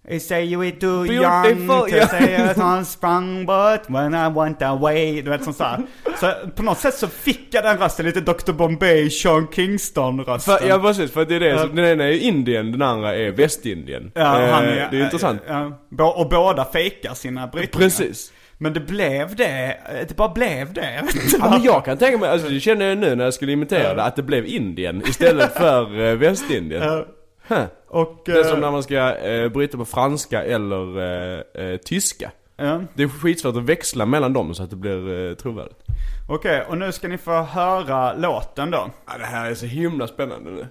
S1: They say you were too young
S2: Beautiful,
S1: to
S2: ja.
S1: say it on sprung but when I went away. Du vet sånt där. Så på något sätt så fick jag den rösten lite Dr. Bombay, Sean Kingston-rösten.
S2: För, ja precis, för det är det
S1: Ja.
S2: som, den ena är ju Indien, den andra är Västindien.
S1: Ja,
S2: Eh,
S1: han
S2: det är ju intressant.
S1: ja, ja. och båda fejkar sina brytningar.
S2: Precis.
S1: Men det blev det. Det bara blev det. Jag vet inte
S2: (laughs) Ja, men jag kan tänka mig, alltså det känner jag nu när jag skulle imitera det, att det blev Indien (laughs) istället för eh, Västindien.
S1: varför.
S2: Huh.
S1: Och...
S2: Det är som
S1: eh,
S2: när man ska eh, bryta på franska eller eh, eh, tyska.
S1: ja.
S2: Det är skitsvårt att växla mellan dem så att det blir eh, trovärdigt.
S1: Okej, och nu ska ni få höra låten då.
S2: Ja, det här är så himla spännande nu.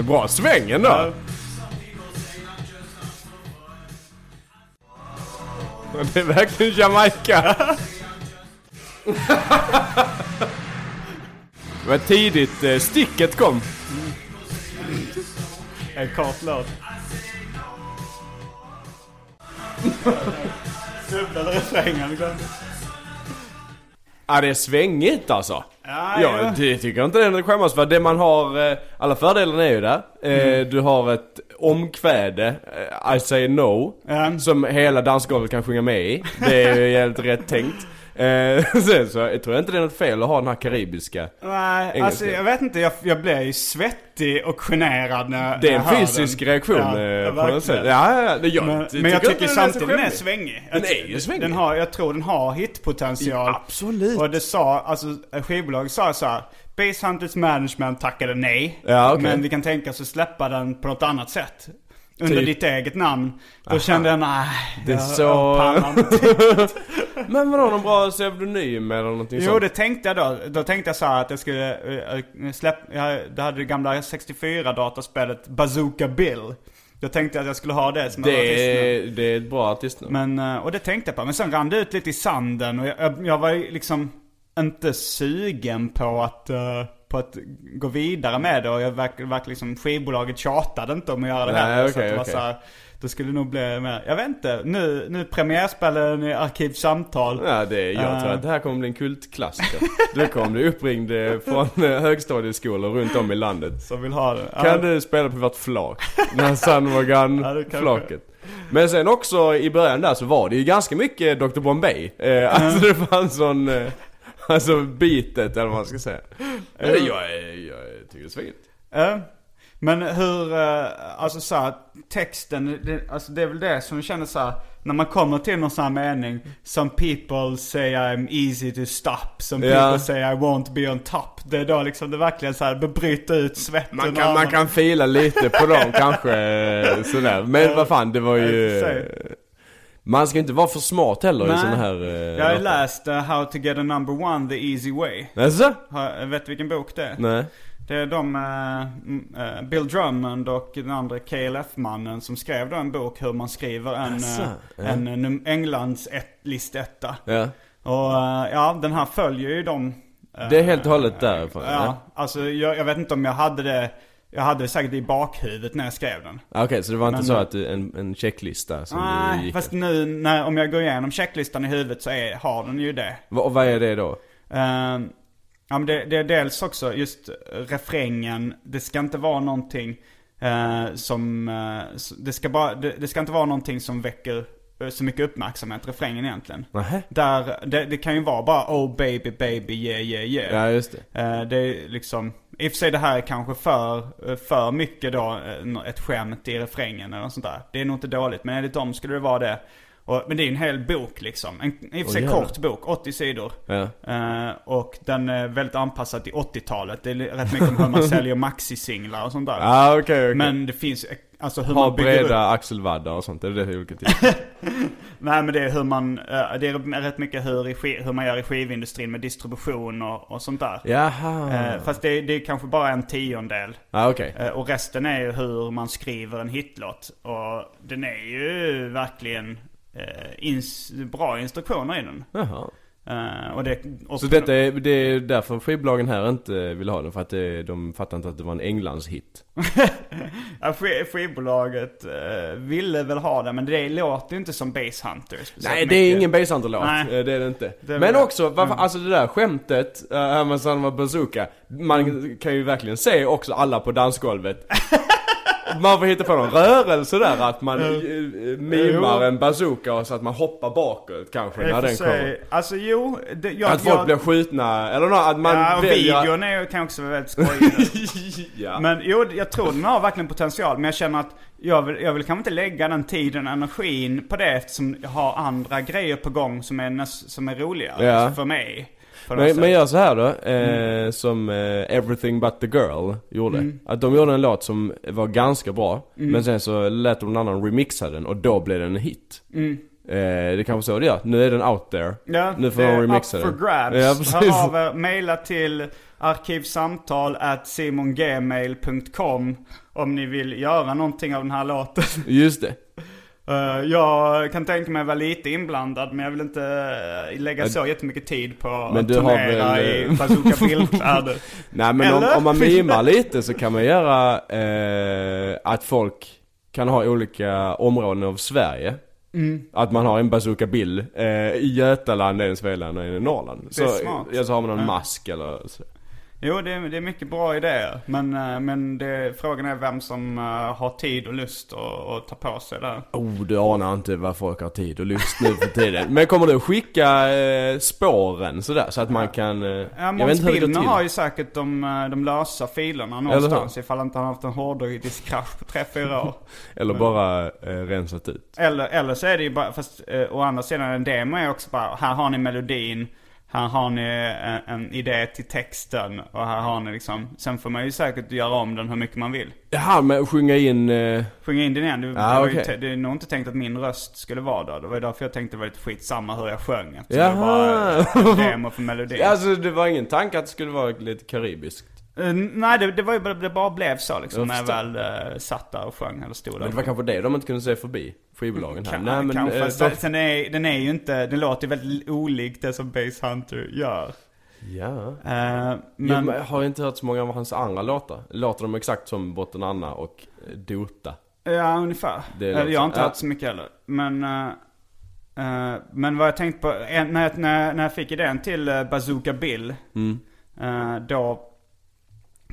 S2: Bra sväng ändå! Det är verkligen Jamaica. Det var tidigt eh, sticket kom.
S1: En kort låt. Snubblade refrängen. liksom. glömde.
S2: Ja det är svängigt alltså.
S1: Ja, ja.
S2: jag ty- tycker inte det är något att skämmas för. Det man har, eh, alla fördelarna är ju där. Eh,
S1: Mm.
S2: Du har ett omkväde, eh, I say no,
S1: Ja.
S2: som hela dansgolvet kan sjunga med i. Det är ju helt rätt tänkt. Eh, (laughs) sen så jag tror jag inte det är något fel att ha den här karibiska.
S1: Nej,
S2: Engelska.
S1: alltså jag vet inte. Jag, jag blev ju svettig och generad när
S2: Det är
S1: när
S2: en
S1: jag hör
S2: fysisk
S1: den.
S2: reaktion
S1: Ja,
S2: eh, på
S1: verkligen.
S2: något sätt. Ja, ja, ja. Jag,
S1: Men, men jag tycker
S2: inte den
S1: samtidigt den är
S2: så skämmig.
S1: svängig.
S2: Den
S1: Jag-
S2: är ju svängig.
S1: Den har, jag tror den har hitpotential.
S2: Ja, absolut.
S1: Och det sa, alltså skivbolaget sa så här. Base Hunters management tackade nej.
S2: Ja, okej.
S1: Men vi kan tänka oss att släppa den på något annat sätt. Under
S2: Typ.
S1: ditt eget namn. Då kände jag nej.
S2: Det är
S1: jag-
S2: så-
S1: jag pallar inte."
S2: (laughs) Men vadå, någon bra pseudonym eller någonting
S1: Jo
S2: sånt?
S1: det tänkte jag då. Då tänkte jag så här att jag skulle eh, eh, släpp, jag, det hade det gamla 64 dataspelet Bazooka Bill. Då tänkte jag att jag skulle ha det som artistnamn.
S2: Det är, det är ett bra artistnamn.
S1: Men, eh, och det tänkte jag på. Men sen rann det ut lite i sanden och jag, jag, jag var ju liksom inte sugen på att, eh, på att gå vidare med det. Och jag verk, verk, liksom, skivbolaget tjatade inte om att göra det
S2: Nej,
S1: heller. så
S2: okej,
S1: att det var
S2: okej.
S1: så här, det skulle nog bli mer, jag vet inte. Nu, nu premiärspelen i Arkivsamtal.
S2: Ja, det är, jag tror
S1: Eh.
S2: att det här kommer bli en kultklassiker. Du kommer bli uppringd eh, från eh, högstadieskolor runt om i landet.
S1: Som vill ha det. Ja.
S2: Kan du spela på vårt flak? (laughs) När San
S1: Ja, det kanske-
S2: Morgan-flaket. Men sen också i början där så var det ju ganska mycket Dr. Bombay. Eh, alltså det fanns sån, eh, alltså bitet eller vad man ska säga. Eh, jag, jag, jag tycker det är svingigt.
S1: Ja. Men hur, eh, alltså så här, texten, det, alltså det är väl det som känner så här, när man kommer till någon sån här mening, some people say I'm easy to stop, some
S2: Ja.
S1: people say I won't be on top. Det är då liksom det verkligen så här, det bryter ut svetten.
S2: Man
S1: och
S2: kan, man kan fila lite
S1: (laughs)
S2: på dem kanske eh, sådär. Men vad fan det var
S1: Ja, i och
S2: ju...
S1: för
S2: eh,
S1: sig.
S2: Man ska inte vara för smart heller i
S1: Nej.
S2: såna här... eh,
S1: Jag har
S2: låtar.
S1: läst eh, How to get a number one the easy way.
S2: Alltså?
S1: Har, vet du vilken bok det är?
S2: Nej.
S1: Det är de, eh, m- eh, Bill Drummond och den andra KLF-mannen som skrev då en bok hur man skriver en,
S2: Asså,
S1: eh,
S2: ja.
S1: en, eh, num- Englands ett, listetta.
S2: Ja.
S1: Och eh, ja, den här följer ju dem. eh,
S2: Det är helt och hållet därifrån.
S1: Ja,
S2: Ja.
S1: alltså jag, jag vet inte om jag hade det, jag hade det säkert i bakhuvudet när jag skrev den.
S2: Okej, så det var inte
S1: Men-
S2: så att du, en, en checklista som du
S1: Nej,
S2: gick
S1: fast nu när, om jag går igenom checklistan i huvudet så är, har den ju det.
S2: Va- Och vad är det då?
S1: Ehm, ja, men det, det är dels också just eh, refrängen. Det ska inte vara någonting eh, som... eh, s- det, ska bara, det, det ska inte vara någonting som väcker eh, så mycket uppmärksamhet, refrängen egentligen.
S2: Nähä?
S1: Där, det, det kan ju vara bara oh baby baby yeah yeah yeah.
S2: Ja, just det.
S1: Eh, det är liksom... I och för sig det här är kanske för, eh, för mycket då, eh, nå- ett skämt i refrängen eller något sånt där. Det är nog inte dåligt, men enligt dem skulle det vara det. Och, men det är ju en hel bok liksom. En i och för
S2: Åh,
S1: sig
S2: jävlar.
S1: kort bok, 80 sidor.
S2: Ja.
S1: Eh, och den är väldigt anpassad till 80-talet. Det är rätt mycket om hur
S2: (laughs)
S1: man säljer maxisinglar och sånt där.
S2: Ah, okej, okej.
S1: Men det finns, eh, alltså hur
S2: Ha
S1: man bygger
S2: breda
S1: upp.
S2: axelvaddar och sånt, är det det olika till?
S1: Nej men det är hur man, eh, det är rätt mycket hur, i, ski- hur man gör i skivindustrin med distribution och, och sånt där.
S2: Jaha.
S1: Eh, fast det, är- det är kanske bara en tiondel.
S2: ah, okej.
S1: Eh, och resten är ju hur man skriver en hitlåt. Och den är ju verkligen eh, ins, bra instruktioner i den.
S2: Jaha.
S1: Eh, och det, och
S2: Så detta är, det är därför skivbolagen här inte vill ha den, för att det, de fattar inte att det var en Englandshit.
S1: Ja, sk- skivbolaget eh, ville väl ha det, men det låter ju inte som Base Hunter speciellt
S2: Nej, det är
S1: mycket.
S2: ingen basehunter-låt.
S1: Nej.
S2: Eh, Det är det inte.
S1: Det är
S2: Men
S1: väl- Mm.
S2: också, varför, alltså det där skämtet, eh, här med Sanna Bazooka. Man
S1: Mm.
S2: kan ju verkligen se också alla på dansgolvet. Man får hitta på någon rörelse där, att man eh, mimar
S1: Jo.
S2: en bazooka och så att man hoppar bakåt kanske
S1: I och
S2: när
S1: för
S2: den
S1: sig-
S2: kommer.
S1: Alltså jo, det, jag...
S2: Att folk
S1: jag,
S2: blir skjutna, eller nå, att man
S1: ja, och
S2: väljer...
S1: videon är, ju- kan också vara väldigt skojig.
S2: (laughs) ja.
S1: men jo, jag tror den har verkligen potential, men jag känner att jag vill, jag vill kanske inte lägga den tiden och energin på det eftersom jag har andra grejer på gång som är, näs- som är roligare
S2: Ja.
S1: för mig. på något
S2: Men, men
S1: sätt. Mm.
S2: gör så här då, eh, som eh, Everything But The Girl gjorde. Att de gjorde en låt som var ganska bra,
S1: Mm.
S2: men sen så lät de någon annan remixa den och då blev den en hit. Eh, det kanske så det gör. Nu är den out there.
S1: Mm. Ja,
S2: nu får
S1: det är
S2: de remixa
S1: up
S2: den.
S1: for grabs. eh,
S2: Ja, precis.
S1: Hör av er, mejla till arkivsamtal at simongmail.com om ni vill göra någonting av den här
S2: (laughs)
S1: låten.
S2: Just det.
S1: Eh, jag kan tänka mig vara lite inblandad men jag vill inte eh, lägga så jättemycket tid på
S2: Men
S1: att
S2: du har
S1: turnera
S2: väl, eh,
S1: i
S2: (laughs)
S1: bazooka bildkläder.
S2: Nej men om,
S1: Eller?
S2: om
S1: (laughs)
S2: man mimar lite så kan man göra eh, att folk kan ha olika områden av Sverige.
S1: Mm.
S2: Att man har en bazooka Bill eh, i Götaland, en i Svealand och en i Norrland.
S1: är
S2: Så, eh,
S1: smart.
S2: ja, så har man någon
S1: Ja.
S2: mask eller så.
S1: Jo, det är, det är mycket bra idéer. Men, eh, men det, frågan är vem som eh, har tid och lust att att ta på sig det här.
S2: Oh, du anar inte vad folk har tid och lust nu för tiden. Men kommer du att skicka eh, spåren sådär så att man kan... Eh,
S1: Ja,
S2: jag vet
S1: Måns
S2: inte hur det går
S1: Bilner
S2: till.
S1: har ju säkert de, eh, de lösa filerna någonstans ifall inte han haft en hårddisk krasch på 3-4 år.
S2: Eller bara eh, rensat ut.
S1: eller, eller så är det ju bara, fast eh, å andra sidan en demo är också bara, här har ni melodin, här har ni en, en idé till texten och här har ni liksom, sen får man ju säkert göra om den hur mycket man vill.
S2: Jaha, men sjunga in... Eh,
S1: Sjunga in den igen. Det,
S2: Ah,
S1: det, var ju
S2: okej.
S1: te- det är nog inte tänkt att min röst skulle vara där. Det var ju därför jag tänkte det var lite skitsamma hur jag sjöng. Eftersom det
S2: Jaha.
S1: var eh, en
S2: (laughs)
S1: demo för melodin.
S2: alltså det var ingen tanke att det skulle vara lite karibiskt.
S1: Eh, nej, det, det var ju bara, det bara blev så liksom.
S2: Jag
S1: När jag
S2: förstår.
S1: väl eh, satt där och sjöng eller stod där.
S2: Men det var kanske det de inte kunde se förbi skivbolagen här.
S1: Kan-
S2: Nej men...
S1: kanske.
S2: eh,
S1: sen,
S2: de-
S1: sen är, den är ju inte, den låter ju väldigt olikt det som Bass Hunter gör.
S2: Ja.
S1: Eh,
S2: Men...
S1: men,
S2: jag har inte hört så många av hans andra låtar. Låter de exakt som Botten Anna och eh, Dota?
S1: ja ungefär.
S2: Det
S1: Eh,
S2: låter
S1: jag har
S2: så.
S1: inte
S2: Ja.
S1: hört så mycket heller. Men, eh, eh, men vad jag tänkte på, eh, när jag, när, jag- när jag fick idén till eh, Bazooka Bill.
S2: Mm.
S1: eh, då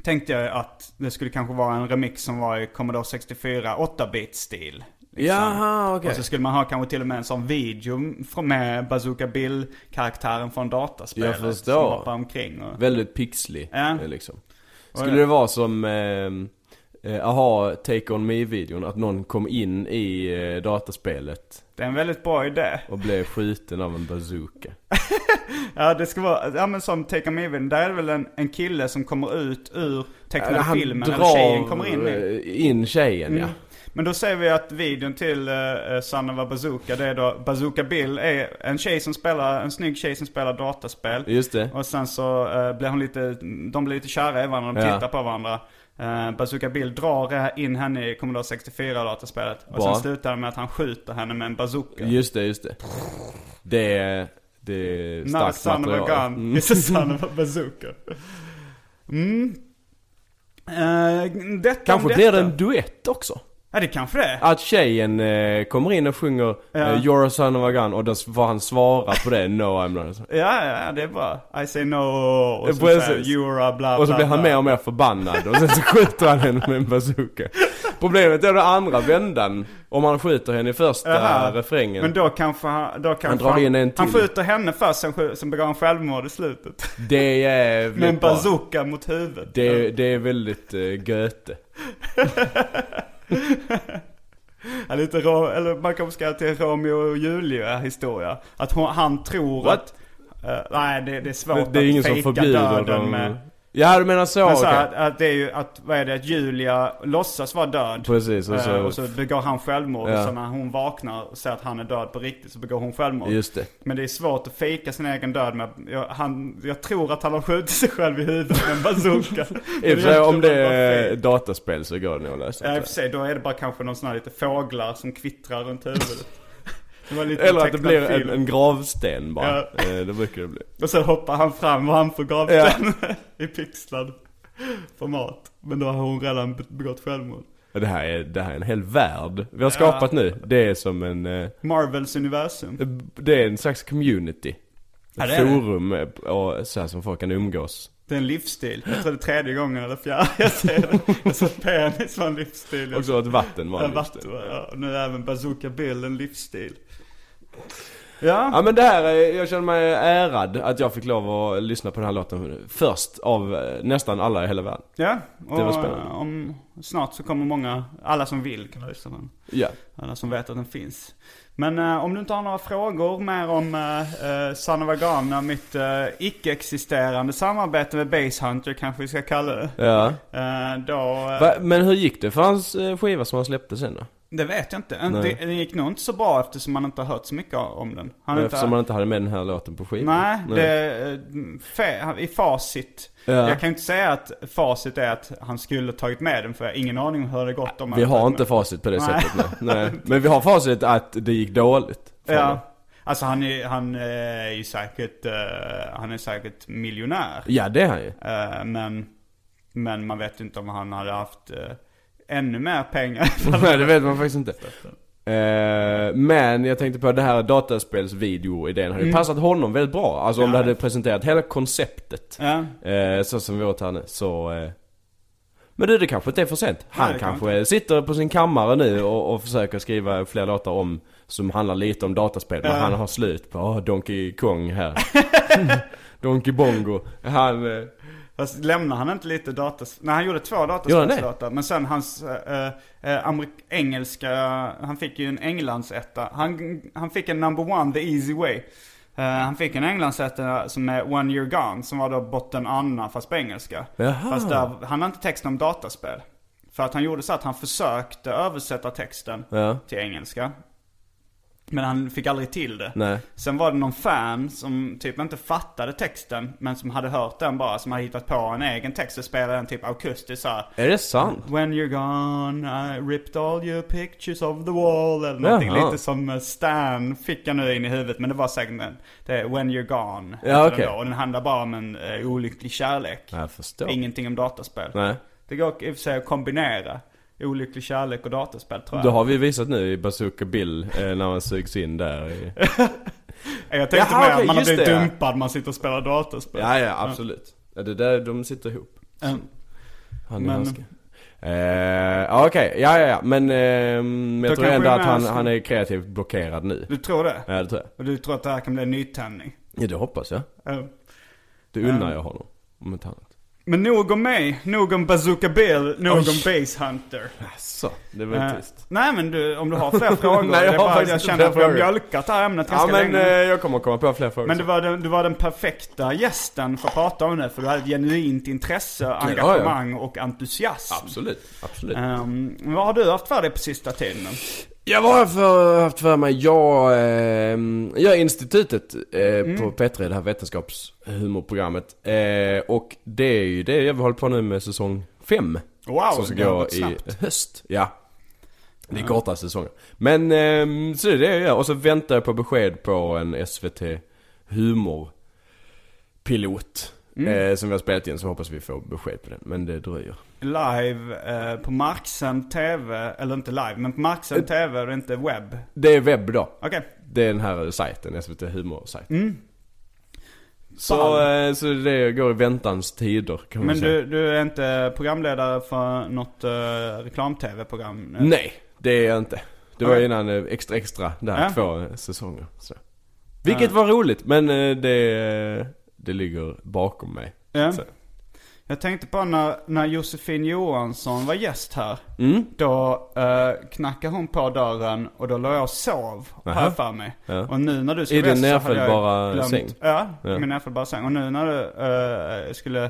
S1: tänkte jag att det skulle kanske vara en remix som var i Commodore 64 8-bit stil.
S2: liksom? Jaha, okej.
S1: Och så skulle man ha kanske till och med en sån video från- med Bazooka Bill-karaktären från dataspelet.
S2: Jag förstår.
S1: Som hoppar omkring och...
S2: Väldigt pixlig
S1: Ja.
S2: eh, liksom. Skulle det vara som eh, eh, Aha, Take On Me-videon, att någon kom in i eh, dataspelet
S1: Det är en väldigt bra idé.
S2: och blev skjuten av en bazooka.
S1: Ja det ska vara, ja men som Take Me Even, där är det väl en, en kille som kommer ut ur tecknade filmen, eller tjejen kommer in i. Mm.
S2: eh, in tjejen ja.
S1: Men då säger vi att videon till uh, Sanna var Bazooka, det är då Bazooka Bill är en tjej som spelar, en snygg tjej som spelar dataspel.
S2: Just det.
S1: Och sen så eh, blir hon lite, de blir lite kära i varandra, de
S2: Ja.
S1: tittar på varandra. Eh, Bazooka Bill drar in henne i Commodore 64 dataspelet. Och
S2: Bra.
S1: sen slutar det med att han skjuter henne med en bazooka.
S2: Just det, just det. Det är, det är
S1: Not a
S2: starkt
S1: son of a
S2: material.
S1: gun, (laughs)
S2: Mm.
S1: it's a son of a bazooka. Mm. Eh, detta
S2: Kanske
S1: om
S2: blir det
S1: detta.
S2: en duett också.
S1: Ja det kanske det är.
S2: Att tjejen eh, kommer in och sjunger
S1: Ja.
S2: eh, 'You're a son of a gun' och då får han svara på det 'No I'm not a son'
S1: Ja, ja, det är bra. I say no och så
S2: Precis.
S1: säger you're a bla
S2: Och så
S1: bla,
S2: blir han
S1: bla.
S2: mer och mer förbannad och sen så skjuter han henne med en bazooka. Problemet är den andra vändan, om han skjuter henne i första
S1: Jaha.
S2: refrängen.
S1: Men då kanske han, då kanske han,
S2: drar in en
S1: han
S2: till.
S1: skjuter henne först, sen, skj- sen begår han självmord i slutet.
S2: Det är jävligt
S1: Med en
S2: bra.
S1: bazooka mot huvudet.
S2: Det, det är väldigt eh, Goethe.
S1: Ja, lite ro, eller man kanske ska göra till en Romeo och Julia historia. Att hon, han tror
S2: What?
S1: att... eh, nej det, det är svårt
S2: Det, det är ingen
S1: att
S2: som
S1: fejka
S2: förbjuder
S1: döden
S2: dem.
S1: med...
S2: Ja du menar så,
S1: Men
S2: okej.
S1: så här, att, att det är ju att, vad är det, att Julia låtsas vara död.
S2: Precis, och så-
S1: Eh, och så begår han självmord.
S2: Ja.
S1: Och så när hon vaknar och ser att han är död på riktigt så begår hon självmord.
S2: Just det.
S1: Men det är svårt att fejka sin egen död med, jag, han, jag tror att han har skjutit sig själv i huvudet med en
S2: (laughs)
S1: bazooka.
S2: I och för sig om det är
S1: är...
S2: dataspel så går det nog att lösa.
S1: Ja i
S2: tror
S1: och för sig, då är det bara kanske någon sån här lite fåglar som kvittrar runt huvudet. Det var
S2: jag.
S1: lite
S2: Eller att det
S1: tecknad
S2: blir en,
S1: film.
S2: en gravsten bara.
S1: Ja.
S2: Eh, det brukar det bli.
S1: Och så hoppar han fram och han får gravsten (laughs) i pixlad format. Men då har hon redan be- begått självmord.
S2: Och Det här, är, det här är en hel värld vi har skapat nu. Det är som en... eh,
S1: Marvels universum.
S2: Det är en slags community.
S1: Ja, det är det.
S2: Forum eh, och så här som folk kan umgås.
S1: Det är en livsstil. Jag tror det är tredje gången eller fjärde (laughs) jag säger det. Jag sa att penis var en livsstil.
S2: Och så att vatten var
S1: Ja,
S2: en
S1: vatten,
S2: livsstil.
S1: ja. Och nu är även Bazooka Bill en livsstil. Ja,
S2: Ja men det här, är- jag känner mig ärad att jag fick lov att lyssna på den här låten först av eh, nästan alla i hela världen.
S1: ja. Och eh,
S2: var spännande.
S1: Om, snart så kommer många, alla som vill kan lyssna på den.
S2: Ja.
S1: Alla som vet att den finns. Men eh, om du inte har några frågor mer om eh, eh, Sanna Vagana, mitt eh, icke-existerande samarbete med Basehunter kanske vi ska kalla det.
S2: ja.
S1: Eh, då... eh,
S2: Va, men hur gick det för hans eh, skiva som han släppte sen då?
S1: Det vet jag inte.
S2: Nej.
S1: Det, det gick nog inte så bra eftersom man inte har hört så mycket om den. Han har
S2: Men
S1: inte-
S2: Eftersom man inte hade med den här låten på skivan.
S1: Nej, det, eh, fe, i facit.
S2: Ja.
S1: Jag kan ju inte säga att facit är att han skulle tagit med den för jag har ingen aning om hur det gått om
S2: Vi
S1: han
S2: har
S1: tagit
S2: inte
S1: med.
S2: facit på det
S1: Nej.
S2: sättet
S1: (laughs)
S2: nej. nej. Men vi har facit att det gick dåligt. för honom.
S1: Ja. Alltså han är, han eh, är ju säkert, eh, han är säkert miljonär.
S2: ja det är han ju.
S1: Eh, men, men man vet inte om han hade haft eh, ännu mer pengar. (laughs)
S2: Nej det vet man faktiskt inte. Eh, men jag tänkte på det här dataspelsvideo-idén hade ju passat honom väldigt bra. Alltså om
S1: Mm. Ja.
S2: det hade presenterat hela konceptet.
S1: Ja.
S2: Eh, så som vi åt här nu. Så... Eh, men du det kanske inte är för sent. Han
S1: det kan
S2: kanske sitter på sin kammare nu och, och försöker skriva fler låtar om som handlar lite om dataspel. Men han har slut på oh, Donkey Kong
S1: (laughs)
S2: här. Donkey Bongo. Han... Eh,
S1: Fast lämnar han inte lite datas... Nej han gjorde två
S2: Gjorde han det?
S1: dataspelslåtar. Men sen hans eh, eh, amerik- engelska, han fick ju en Englandsetta. Han, han fick en number one, the easy way. Eh, han fick en Englandsetta som är One Year Gone, som var då botten Anna fast på engelska.
S2: Jaha.
S1: Fast där, han har inte texten om dataspel. För att han gjorde så att han försökte översätta texten
S2: Ja.
S1: till engelska. Men han fick aldrig till det.
S2: Nej.
S1: Sen var det någon fan som typ inte fattade texten, men som hade hört den bara, som hade hittat på en egen text och spelade den typ akustiskt såhär.
S2: är det sant?
S1: When you're gone, I ripped all your pictures of the wall. Eller någonting
S2: Jaha.
S1: lite som eh, Stan fick jag nu in i huvudet. Men det var säkert en- det är When you're gone.
S2: Ja,
S1: heter
S2: okej.
S1: den då, Och den handlar bara om en eh, olycklig kärlek.
S2: Jag förstår.
S1: Ingenting om dataspel.
S2: Nej.
S1: Det går i och för sig att kombinera olycklig kärlek och dataspel tror jag.
S2: Det har vi visat nu i Bazooka Bill eh, när man sugs in där i...
S1: Jag tänkte
S2: Jaha,
S1: mer
S2: okej,
S1: man har
S2: just
S1: blivit
S2: det, ja.
S1: dumpad, man sitter och spelar dataspel.
S2: (laughs) Ja, ja absolut. Ja, det där, de sitter ihop.
S1: Mm.
S2: Han
S1: Men-
S2: är handske. Eh, ja, okej, ja ja ja, men ehm,
S1: Då
S2: jag tror
S1: kanske
S2: ändå
S1: det är
S2: att han,
S1: med-
S2: han är kreativt blockerad nu.
S1: Du tror det?
S2: Ja det tror jag.
S1: Och du tror att det här kan bli en nytändning?
S2: Ja det hoppas jag.
S1: Eh,
S2: Det unnar jag honom. Om inte annat.
S1: Men nog om mig, nog om Bazooka Bill, nog
S2: Oj.
S1: om Base Hunter.
S2: Asså, det var
S1: Eh,
S2: trist.
S1: nej men du, om du har
S2: (laughs)
S1: fler frågor.
S2: Nej, jag
S1: det är
S2: har
S1: bara,
S2: faktiskt
S1: jag
S2: inte
S1: känner att
S2: fler
S1: vi har
S2: frågor.
S1: mjölkat det här ämnet
S2: Ja
S1: ganska
S2: men
S1: länge.
S2: eh, jag kommer komma på fler frågor
S1: men du
S2: sen.
S1: var, den, du var den perfekta gästen för att prata om det, för du hade ett genuint intresse,
S2: ja, ja.
S1: engagemang och entusiasm.
S2: Absolut, absolut.
S1: Ehm, vad har du haft för dig på sista tiden?
S2: Jag var för, haft för mig, jag, ehm, jag är institutet eh,
S1: Mm.
S2: på P3, det här vetenskapshumorprogrammet. Eh, och det är ju det jag håller på nu med säsong 5.
S1: Wow,
S2: som ska
S1: det har
S2: gå
S1: gått
S2: i
S1: snabbt.
S2: höst. Ja. Det är korta säsonger. Men ehm, så det är det jag gör. Och så väntar jag på besked på en SVT humorpilot.
S1: Mm.
S2: Eh, som vi har spelat in, så hoppas vi får besked på den. Men det dröjer.
S1: Live eh, på marksänd TV, eller inte live, men på
S2: Eh,
S1: marksänd TV och inte webb.
S2: Det är webb då.
S1: Okej. Mm.
S2: Det är den här sajten, SVT Humor-sajten. Så,
S1: Fan.
S2: eh, så det går i väntans tider kan man
S1: Men
S2: säga.
S1: du, du är inte programledare för något eh, reklam-tv-program? eh?
S2: Nej, det är jag inte. Det var
S1: Okej.
S2: innan eh, Extra Extra där,
S1: Ja.
S2: två eh, säsonger. Så. Vilket var roligt, men eh, det, det ligger bakom mig.
S1: Ja.
S2: Så.
S1: Jag tänkte på när, när Josefin Johansson var gäst här.
S2: Mm.
S1: Då eh, knackade hon på dörren och då låg jag och sov, har jag för mig.
S2: Ja.
S1: Och nu när du skulle
S2: I din
S1: så hade jag
S2: nerfällbara
S1: glömt-
S2: säng?
S1: Ja,
S2: Ja.
S1: min nerfällbara säng. Och nu när du eh, skulle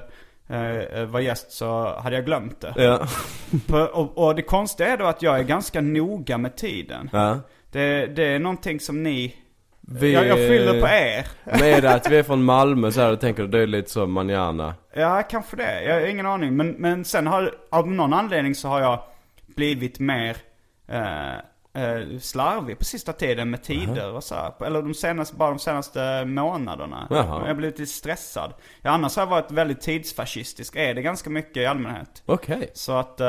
S1: eh, vara gäst så hade jag glömt det.
S2: Ja.
S1: På- Och, och det konstiga är då att jag är ganska noga med tiden.
S2: ja.
S1: Det, det är någonting som ni...
S2: Vi,
S1: Jag, jag skyller på er.
S2: Med att vi är från Malmö så här, då tänker du det är lite som manjana.
S1: Ja, kanske det. Jag har ingen aning. Men, men sen har, av någon anledning så har jag blivit mer eh, eh, slarvig på sista tiden med tider och så här. Eller de senaste, bara de senaste månaderna.
S2: Jaha.
S1: Jag har blivit lite stressad. Ja, annars har jag varit väldigt tidsfascistisk. Är det ganska mycket i allmänhet.
S2: Okej.
S1: Så att eh,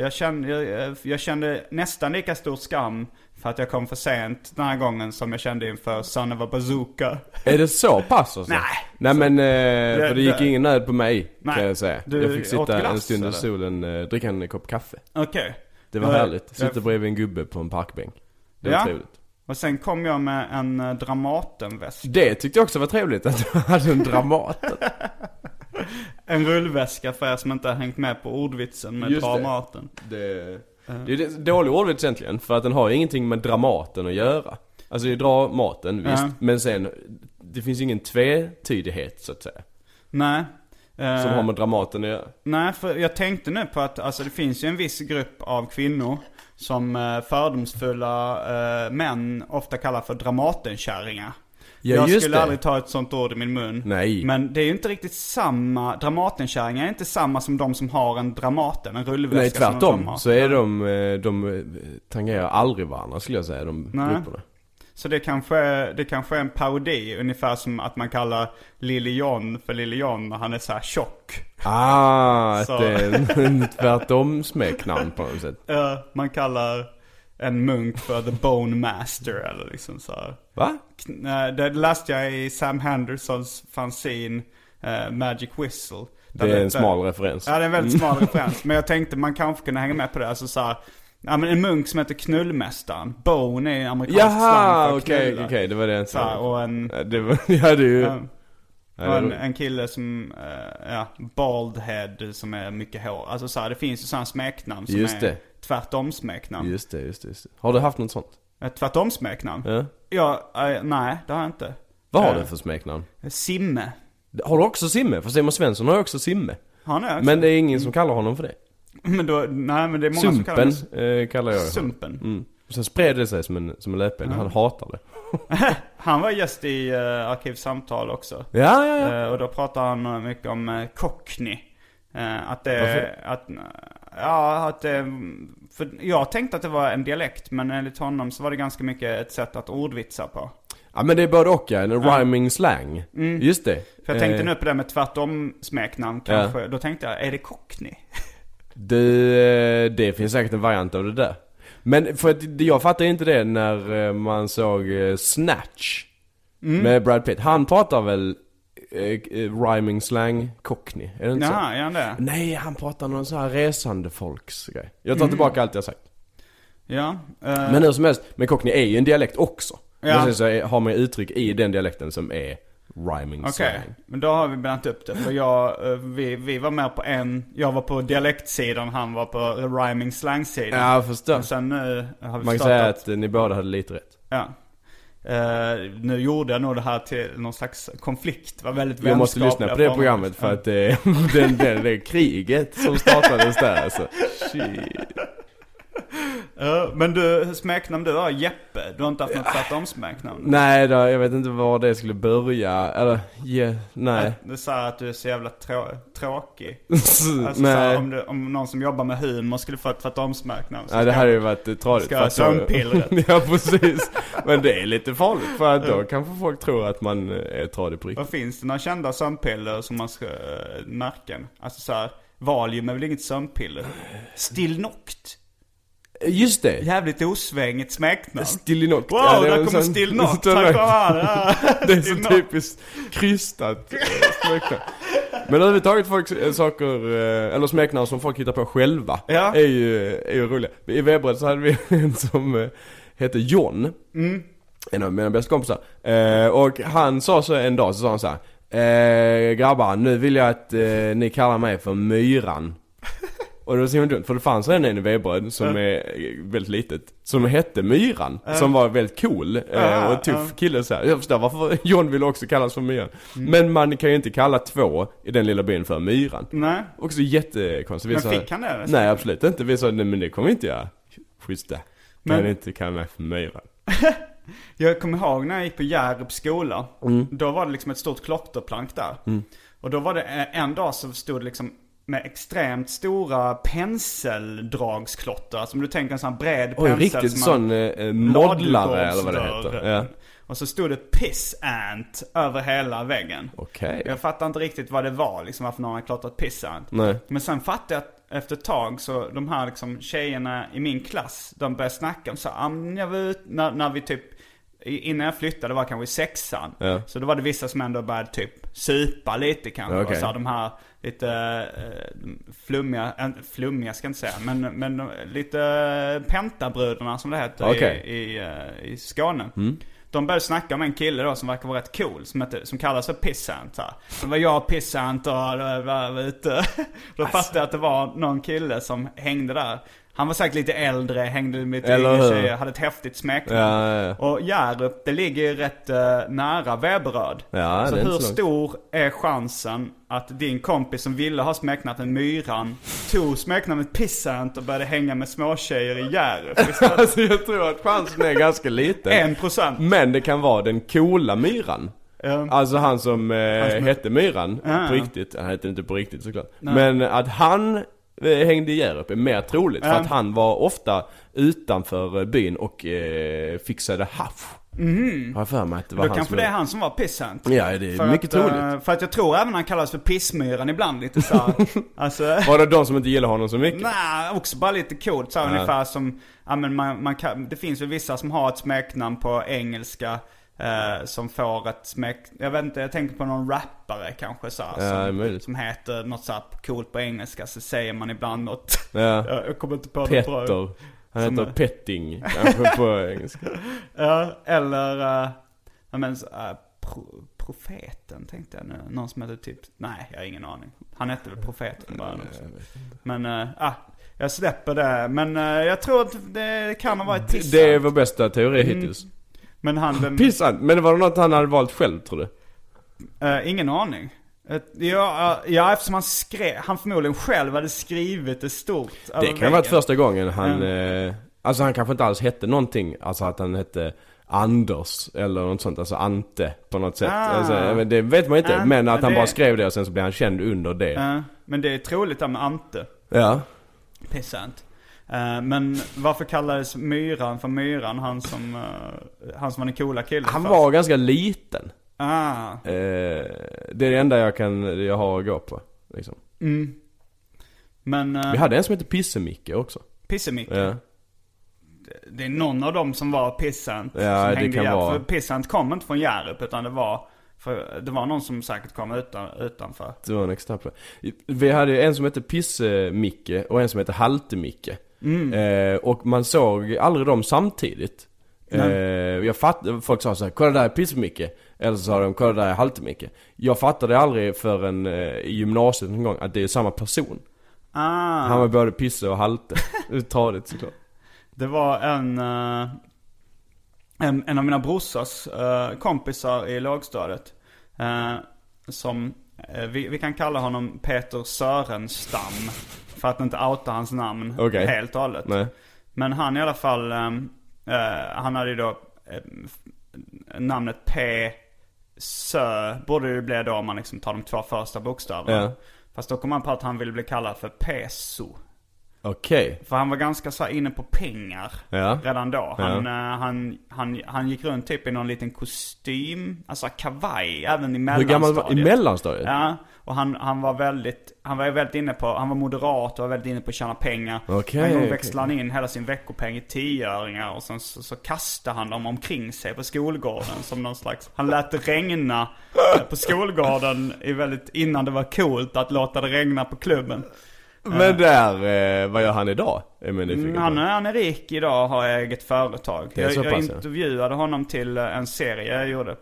S1: jag, kände, jag, jag kände nästan lika stor skam för att jag kom för sent den här gången som jag kände inför Son of a Bazooka. (laughs)
S2: Är det så pass alltså?
S1: Nej.
S2: Nej men, eh, för det gick
S1: det-
S2: ingen nöd på mig
S1: Nej.
S2: kan jag säga.
S1: Du
S2: jag fick
S1: åt
S2: sitta
S1: glass,
S2: en stund i
S1: eller?
S2: solen, eh, dricka en kopp kaffe.
S1: Okej.
S2: Det var
S1: Jag-
S2: härligt.
S1: jag-
S2: Sitta bredvid en gubbe på en parkbänk. Det var
S1: Ja.
S2: trevligt.
S1: Och sen kom jag med en eh, Dramatenväska.
S2: Det tyckte jag också var trevligt att du hade en Dramat.
S1: En rullväska för er som inte har hängt med på ordvitsen med
S2: Just det.
S1: Dramaten.
S2: det, det är ju ett dålig ordvits egentligen, för att den har ju ingenting med Dramaten att göra. Alltså det är Dramaten, visst.
S1: Ja.
S2: Men sen, det finns ju ingen tvetydighet så att säga.
S1: Nej. Eh,
S2: Som har med Dramaten att göra.
S1: Nej, för jag tänkte nu på att alltså, det finns ju en viss grupp av kvinnor som eh, fördomsfulla eh, män ofta kallar för Dramatenkärringar.
S2: Ja,
S1: jag
S2: just
S1: skulle
S2: det.
S1: aldrig ta ett sånt ord i min mun.
S2: Nej.
S1: Men det är ju inte riktigt samma, Dramatenkärringar är inte samma som de som har en Dramaten, en rullväska
S2: Nej
S1: som de
S2: tvärtom,
S1: har.
S2: så är de, eh, de eh, tangerar aldrig varandra skulle jag säga, de
S1: Nej.
S2: grupperna.
S1: Så det kanske, det kanske är en parodi, ungefär som att man kallar Lille John för Lille John när han är så här tjock.
S2: Ah,
S1: Så.
S2: ett, eh, en tvärtom-smeknamn på något sätt.
S1: Eh, man kallar en munk för The Bone Master eller liksom så här.
S2: Va?
S1: Kn- eh, Det läste jag i Sam Hendersons fanzine eh, Magic Whistle. Där
S2: Det är en smal referens.
S1: Ja, det är en väldigt
S2: (laughs)
S1: smal referens. Men jag tänkte man kanske kunde hänga med på det. Alltså så här, ja, men en munk som heter Knullmästaren. Bone är en amerikansk
S2: Jaha,
S1: slang för att
S2: okej,
S1: knulla.
S2: okej, det var det jag inte
S1: Så här,
S2: sa.
S1: och en...
S2: Ja, Det var, (laughs) ja det är ju...
S1: Ja.
S2: Ja,
S1: Och
S2: det
S1: en,
S2: var-
S1: en kille som, eh, ja, bald head som är mycket hår. Alltså så här, det finns ju sådana smeknamn som
S2: Just
S1: är
S2: det.
S1: tvärtom smeknamn.
S2: Just det, just det, just det. Har du haft något sånt?
S1: Ett tvärtom smeknamn?
S2: Ja.
S1: Ja, eh, nej det har jag inte.
S2: Vad har
S1: Ja.
S2: du för smeknamn?
S1: Simme.
S2: Har du också Simme? För Simon Svensson har ju också Simme.
S1: Har ni också?
S2: Men det är ingen som kallar honom för det.
S1: (laughs) Men då, nej men det är många som kallar
S2: Sumpen
S1: mig
S2: eh, kallar jag honom.
S1: Sumpen.
S2: Mm. Och sen spred det sig som en, som en löpeld, han hatar det.
S1: Han var gäst i uh, Arkivsamtal också.
S2: Ja, ja, ja.
S1: Eh, och då pratar han eh, mycket om uh, cockney. Eh, att det,
S2: Varför?
S1: att, ja att det, för jag tänkte att det var en dialekt men enligt honom så var det ganska mycket ett sätt att ordvitsa på.
S2: Ja men det är både och ja, en rhyming slang. Just det.
S1: Mm. För jag tänkte
S2: Eh,
S1: nu på det här med tvärtom smeknamn kanske, då tänkte jag, är det cockney?
S2: Det, eh, det finns säkert en variant av det där. Men för att det- jag fattar inte det när eh, man såg eh, Snatch
S1: Mm.
S2: med Brad Pitt. Han pratar väl eh, eh, rhyming slang cockney? Är det inte
S1: Jaha, är han det?
S2: så? Nej, han pratar någon sån här resande folks grej. Jag
S1: Mm.
S2: tar tillbaka allt jag sagt.
S1: Ja. eh,
S2: Men hur som helst, men cockney är ju en dialekt också.
S1: Ja.
S2: Men sen så är- har man ju uttryck i den dialekten som är rhyming
S1: Okej,
S2: slang.
S1: men då har vi blandat upp det. För jag, eh, vi, vi var med på en, jag var på dialektsidan, han var på rhyming slangsidan.
S2: Ja, jag förstår.
S1: Men sen nu har vi
S2: Man kan
S1: förstått
S2: säga
S1: att,
S2: att eh, ni båda hade lite rätt.
S1: ja. Eh, nu gjorde jag nog det här till någon slags konflikt, Det var väldigt
S2: Jag måste lyssna
S1: vänskapliga
S2: på det
S1: former.
S2: programmet för (laughs) att eh, det, det, det, det är kriget som startades där alltså. Shit.
S1: Ja, men du, smeknamn du har, Jeppe, du har inte haft något tvärtom smeknamn?
S2: Nej då, jag vet inte var det skulle börja. Eller, ja, nej. Mm,
S1: Det är så här att du är så jävla trå- tråkig. Alltså så här,
S2: (laughs) nej.
S1: om, du, om någon som jobbar med humor skulle få ett tvärtomsmärknamn så
S2: Ja, det
S1: ska-
S2: hade ju varit eh, tradigt.
S1: Ska
S2: för
S1: jag
S2: att då-
S1: sömnpillret?
S2: (laughs) ja precis. Men det är lite farligt för att då kanske folk tror att man eh, är tradig på riktigt.
S1: Vad finns det några kända sömnpiller som man ska, eh, märken? Alltså så här, Valium är väl inget sömnpiller? Stillnokt?
S2: Just det.
S1: Jävligt osvängigt smeknamn.
S2: Stillinokt.
S1: Wow,
S2: Ja, det är
S1: där
S2: en
S1: kommer
S2: sån- (laughs)
S1: Stillnokt!
S2: sån-
S1: Tack vare
S2: (laughs) Det är så typiskt krystat eh, smeknamn. Men överhuvudtaget folk, eh, saker, eh, eller smeknamn som folk hittar på själva
S1: Ja.
S2: är, ju, är ju roliga. I Webred så hade vi (laughs) en som eh, hette John. En av mina bästa kompisar. Eh, Och han sa så en dag, så sa han så här. Eh, grabbar, nu vill jag att eh, ni kallar mig för Myran. Och det var så himla dumt, för det fanns redan en i Veberöd som är eh, väldigt litet, som hette Myran, som var väldigt cool eh, och tuff (laughs) kille så här. Jag förstår varför John ville också kallas för Myran.
S1: Mm.
S2: Men man kan ju inte kalla två i den lilla byn för Myran.
S1: Nej.
S2: Också jättekonstigt. Vi
S1: Men
S2: sa-
S1: fick han det?
S2: Nej absolut inte. Vi sa nej men det kommer vi inte göra. Schyssta. Kan
S1: Men-
S2: men... inte kalla mig för Myran.
S1: Jag kommer ihåg när jag gick på Hjärups skola.
S2: Mm.
S1: Då var det liksom ett stort klotterplank där. Och då var det eh, en dag så stod det liksom med extremt stora penseldragsklotter. Alltså om du tänker en sån här bred
S2: Oj,
S1: pensel.
S2: riktigt
S1: som
S2: sån
S1: man-
S2: eh, modlare eller vad det
S1: Ladugårdsdörr.
S2: heter. Ja.
S1: Och så stod det piss ant över hela väggen.
S2: Okej.
S1: Jag fattar inte riktigt vad det var, liksom varför någon hade klottrat piss ant.
S2: Nej.
S1: Men sen fattade jag att efter ett tag så de här liksom tjejerna i min klass, de började snacka om så här, "Ah, men jag var ut, när, när vi typ, i- innan jag flyttade var jag kanske i sexan.
S2: Ja.
S1: Så då var det vissa som ändå började typ supa lite kanske.
S2: Okej.
S1: Och så här, de här lite eh, flummiga, äh, flummiga ska jag inte säga, men, men de- lite pentabröderna som det heter
S2: Okej.
S1: i, i, eh, i Skåne. De började snacka om en kille då som verkar vara rätt cool, som, hette, som kallas för Pissant här. Sen var jag (laughs)
S2: Alltså.
S1: Pissant och var, var, var ute. Då fattade jag att det var någon kille som hängde där. Han var säkert lite äldre, hängde med lite
S2: Eller
S1: yngre
S2: hur?
S1: tjejer, hade ett häftigt smeknamn.
S2: Ja, ja, ja.
S1: Och Hjärup, det ligger ju rätt eh, nära Veberöd.
S2: Ja,
S1: så
S2: det är
S1: hur
S2: inte så långt.
S1: stor är chansen att din kompis som ville ha smeknamnet Myran tog smeknamnet Pissant och började hänga med småtjejer i Hjärup istället?
S2: (laughs) Alltså jag tror att chansen är ganska liten.
S1: En procent.
S2: Men det kan vara den coola myran.
S1: Ja.
S2: Alltså han som, eh, hette myran
S1: Ja.
S2: på riktigt. Han hette inte på riktigt såklart. Men att han eh, hängde i Hjärup är mer troligt. För
S1: Ja.
S2: att han var ofta utanför eh, byn och eh, fixade hasch. Har jag för mig att det var
S1: Mhm. Då
S2: han
S1: kanske
S2: som
S1: det är
S2: gjorde
S1: han som var Pissant.
S2: Ja, det är
S1: För
S2: mycket
S1: att, eh,
S2: troligt.
S1: För att jag tror även han kallas för Pissmyran ibland lite
S2: (laughs)
S1: såhär. alltså...
S2: Var det de som inte gillar honom så mycket?
S1: Nej, också bara lite coolt. Så här ungefär som, ja men man, man kan, det finns ju vissa som har ett smeknamn på engelska. Eh, som får ett smek, jag vet inte, jag tänker på någon rappare kanske så här,
S2: Ja, det är
S1: som,
S2: möjligt.
S1: som heter något så här coolt på engelska så säger man ibland något.
S2: Ja.
S1: (laughs) jag jag kommer inte på något bra.
S2: Petter. Han heter
S1: (laughs)
S2: Petting kanske på engelska.
S1: Ja, eller, eh, ja men så, eh, pro, profeten tänkte jag nu. Någon som hette typ, nej jag har ingen aning. Han hette väl profeten bara. också. Men, eh, ah, jag släpper det. Men eh, jag tror att det kan ha varit Tissan.
S2: Det är vår bästa teori
S1: Mm.
S2: hittills.
S1: Men han, den,
S2: Pissan, men var det något han hade valt själv tror du?
S1: eh, ingen aning. Ett- Ja, eh, ja, eftersom han skrev, han förmodligen själv hade skrivit det stort. över
S2: Det kan ha varit
S1: väggen.
S2: första gången han, eh, alltså han kanske inte alls hette någonting, alltså att han hette Anders eller något sånt, alltså Ante på något sätt.
S1: Ah.
S2: Alltså, men det vet man inte,
S1: Ah,
S2: men att han
S1: det-
S2: bara skrev det och sen så blev han känd under det.
S1: Eh, Men det är troligt där med Ante.
S2: Ja.
S1: Pissant. Eh, Men varför kallades myran för myran? Han som, eh, han som var den coola killen
S2: Han
S1: först?
S2: var ganska liten.
S1: Ah,
S2: Eh, det är det enda jag kan, jag har att gå på. Liksom.
S1: men
S2: Vi
S1: uh,
S2: hade en som hette Pissemicke också.
S1: Pissemicke.
S2: Ja.
S1: Det är någon av dem som var Pissant.
S2: Ja,
S1: som
S2: det
S1: hängde
S2: kan
S1: i Hjärup.
S2: vara.
S1: För Pissant kom inte från Hjärup utan det var, för, det var någon som säkert kom utan, utanför.
S2: Det var en extra på. Vi hade ju en som hette Pisse-Micke och en som hette Halte-Micke.
S1: Mm.
S2: Eh, och man såg aldrig dem samtidigt. Eh, jag fatt, folk sa så här, kolla där är Pisse-Micke. Eller så sa de, kolla där är Halte-Micke. Jag fattade aldrig förrän eh, i gymnasiet någon gång att det är samma person.
S1: Ah,
S2: Han var både Pisse
S1: (laughs)
S2: och Halte. Det är Tradigt såklart.
S1: det var en, eh, en, en av mina brorsas eh, kompisar i lågstadiet. eh, som, eh, vi, vi kan kalla honom Peter Sörenstam. För att inte outa hans namn
S2: Okej.
S1: helt och hållet.
S2: Nej.
S1: Men han i alla fall, ehm, eh, han hade ju då eh, namnet P. Sö, borde det bli då om man liksom tar de två första bokstäverna.
S2: Ja.
S1: Fast då kom han på att han ville bli kallad för Peso.
S2: Okej.
S1: För han var ganska så här inne på pengar
S2: Ja.
S1: redan då. Han, eh, han, han, han gick runt typ i någon liten kostym, alltså kavaj, även i
S2: Hur
S1: mellanstadiet.
S2: gammal var I mellanstadiet?
S1: Ja, och han, han var väldigt, han var ju väldigt inne på, han var moderat och var väldigt inne på att tjäna pengar.
S2: Okej,
S1: en gång
S2: okej.
S1: växlade han in hela sin veckopeng i tioöringar och sen så, så kastade han dem omkring sig på skolgården som någon slags, han lät det regna eh, på skolgården i väldigt, innan det var coolt att låta det regna på klubben.
S2: Men där, eh, vad gör han idag? Är man nyfiken
S1: Mm,
S2: på.
S1: Han, är- han är rik idag och har eget företag.
S2: är
S1: Jag,
S2: så
S1: jag
S2: pass, ja. Mhm.
S1: intervjuade honom till eh, en serie jag gjorde.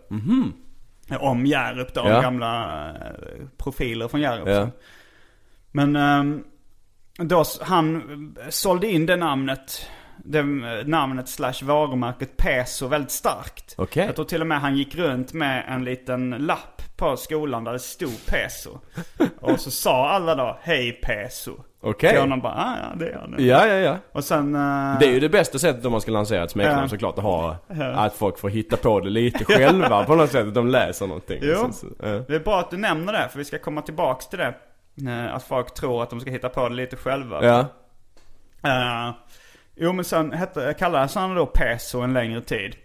S1: Om Hjärup då,
S2: Ja.
S1: om gamla eh, profiler från Hjärup.
S2: Ja.
S1: Men ehm, då, s- han eh, sålde in det namnet, det eh, namnet slash varumärket Peso väldigt starkt.
S2: Okej.
S1: Jag tror till och med han gick runt med en liten lapp på skolan där det stod Peso. och så sa alla då, hej Peso.
S2: Okej.
S1: Till honom bara, ah, ja det är han.
S2: Ja, ja, ja.
S1: Och sen... eh,
S2: Det är ju det bästa sättet om man ska lansera ett smeknamn
S1: Ja.
S2: såklart att ha Att folk får hitta på det lite själva på något sätt, att de läser någonting
S1: Jo.
S2: liksom, Så- så- ja.
S1: Det är bra att du nämner det, för vi ska komma tillbaks till det. Eh, Att folk tror att de ska hitta på det lite själva.
S2: Ja,
S1: Eh, jo men sen hette, kallades han då Peso en längre tid.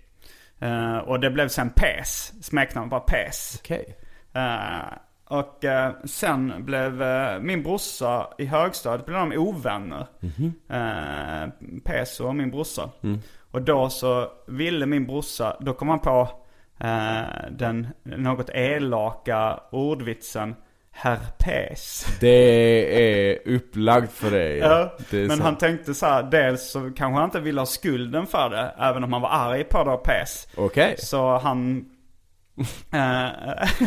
S1: Eh, och det blev sen Pes. Smeknamnet var Pes.
S2: okej
S1: Eh, och eh, sen blev eh, min brorsa i högstadiet, blev de ovänner.
S2: Mhm.
S1: Eh, Peso och min brorsa.
S2: Mm.
S1: Och då så ville min brorsa, då kom han på eh, den något elaka ordvitsen Herr Pes.
S2: Det är upplagt för dig
S1: Ja,
S2: det är
S1: men han tänkte så här, dels så kanske han inte ville ha skulden för det, även om han var arg på det och pes.
S2: (laughs) Okej.
S1: Så han Eh,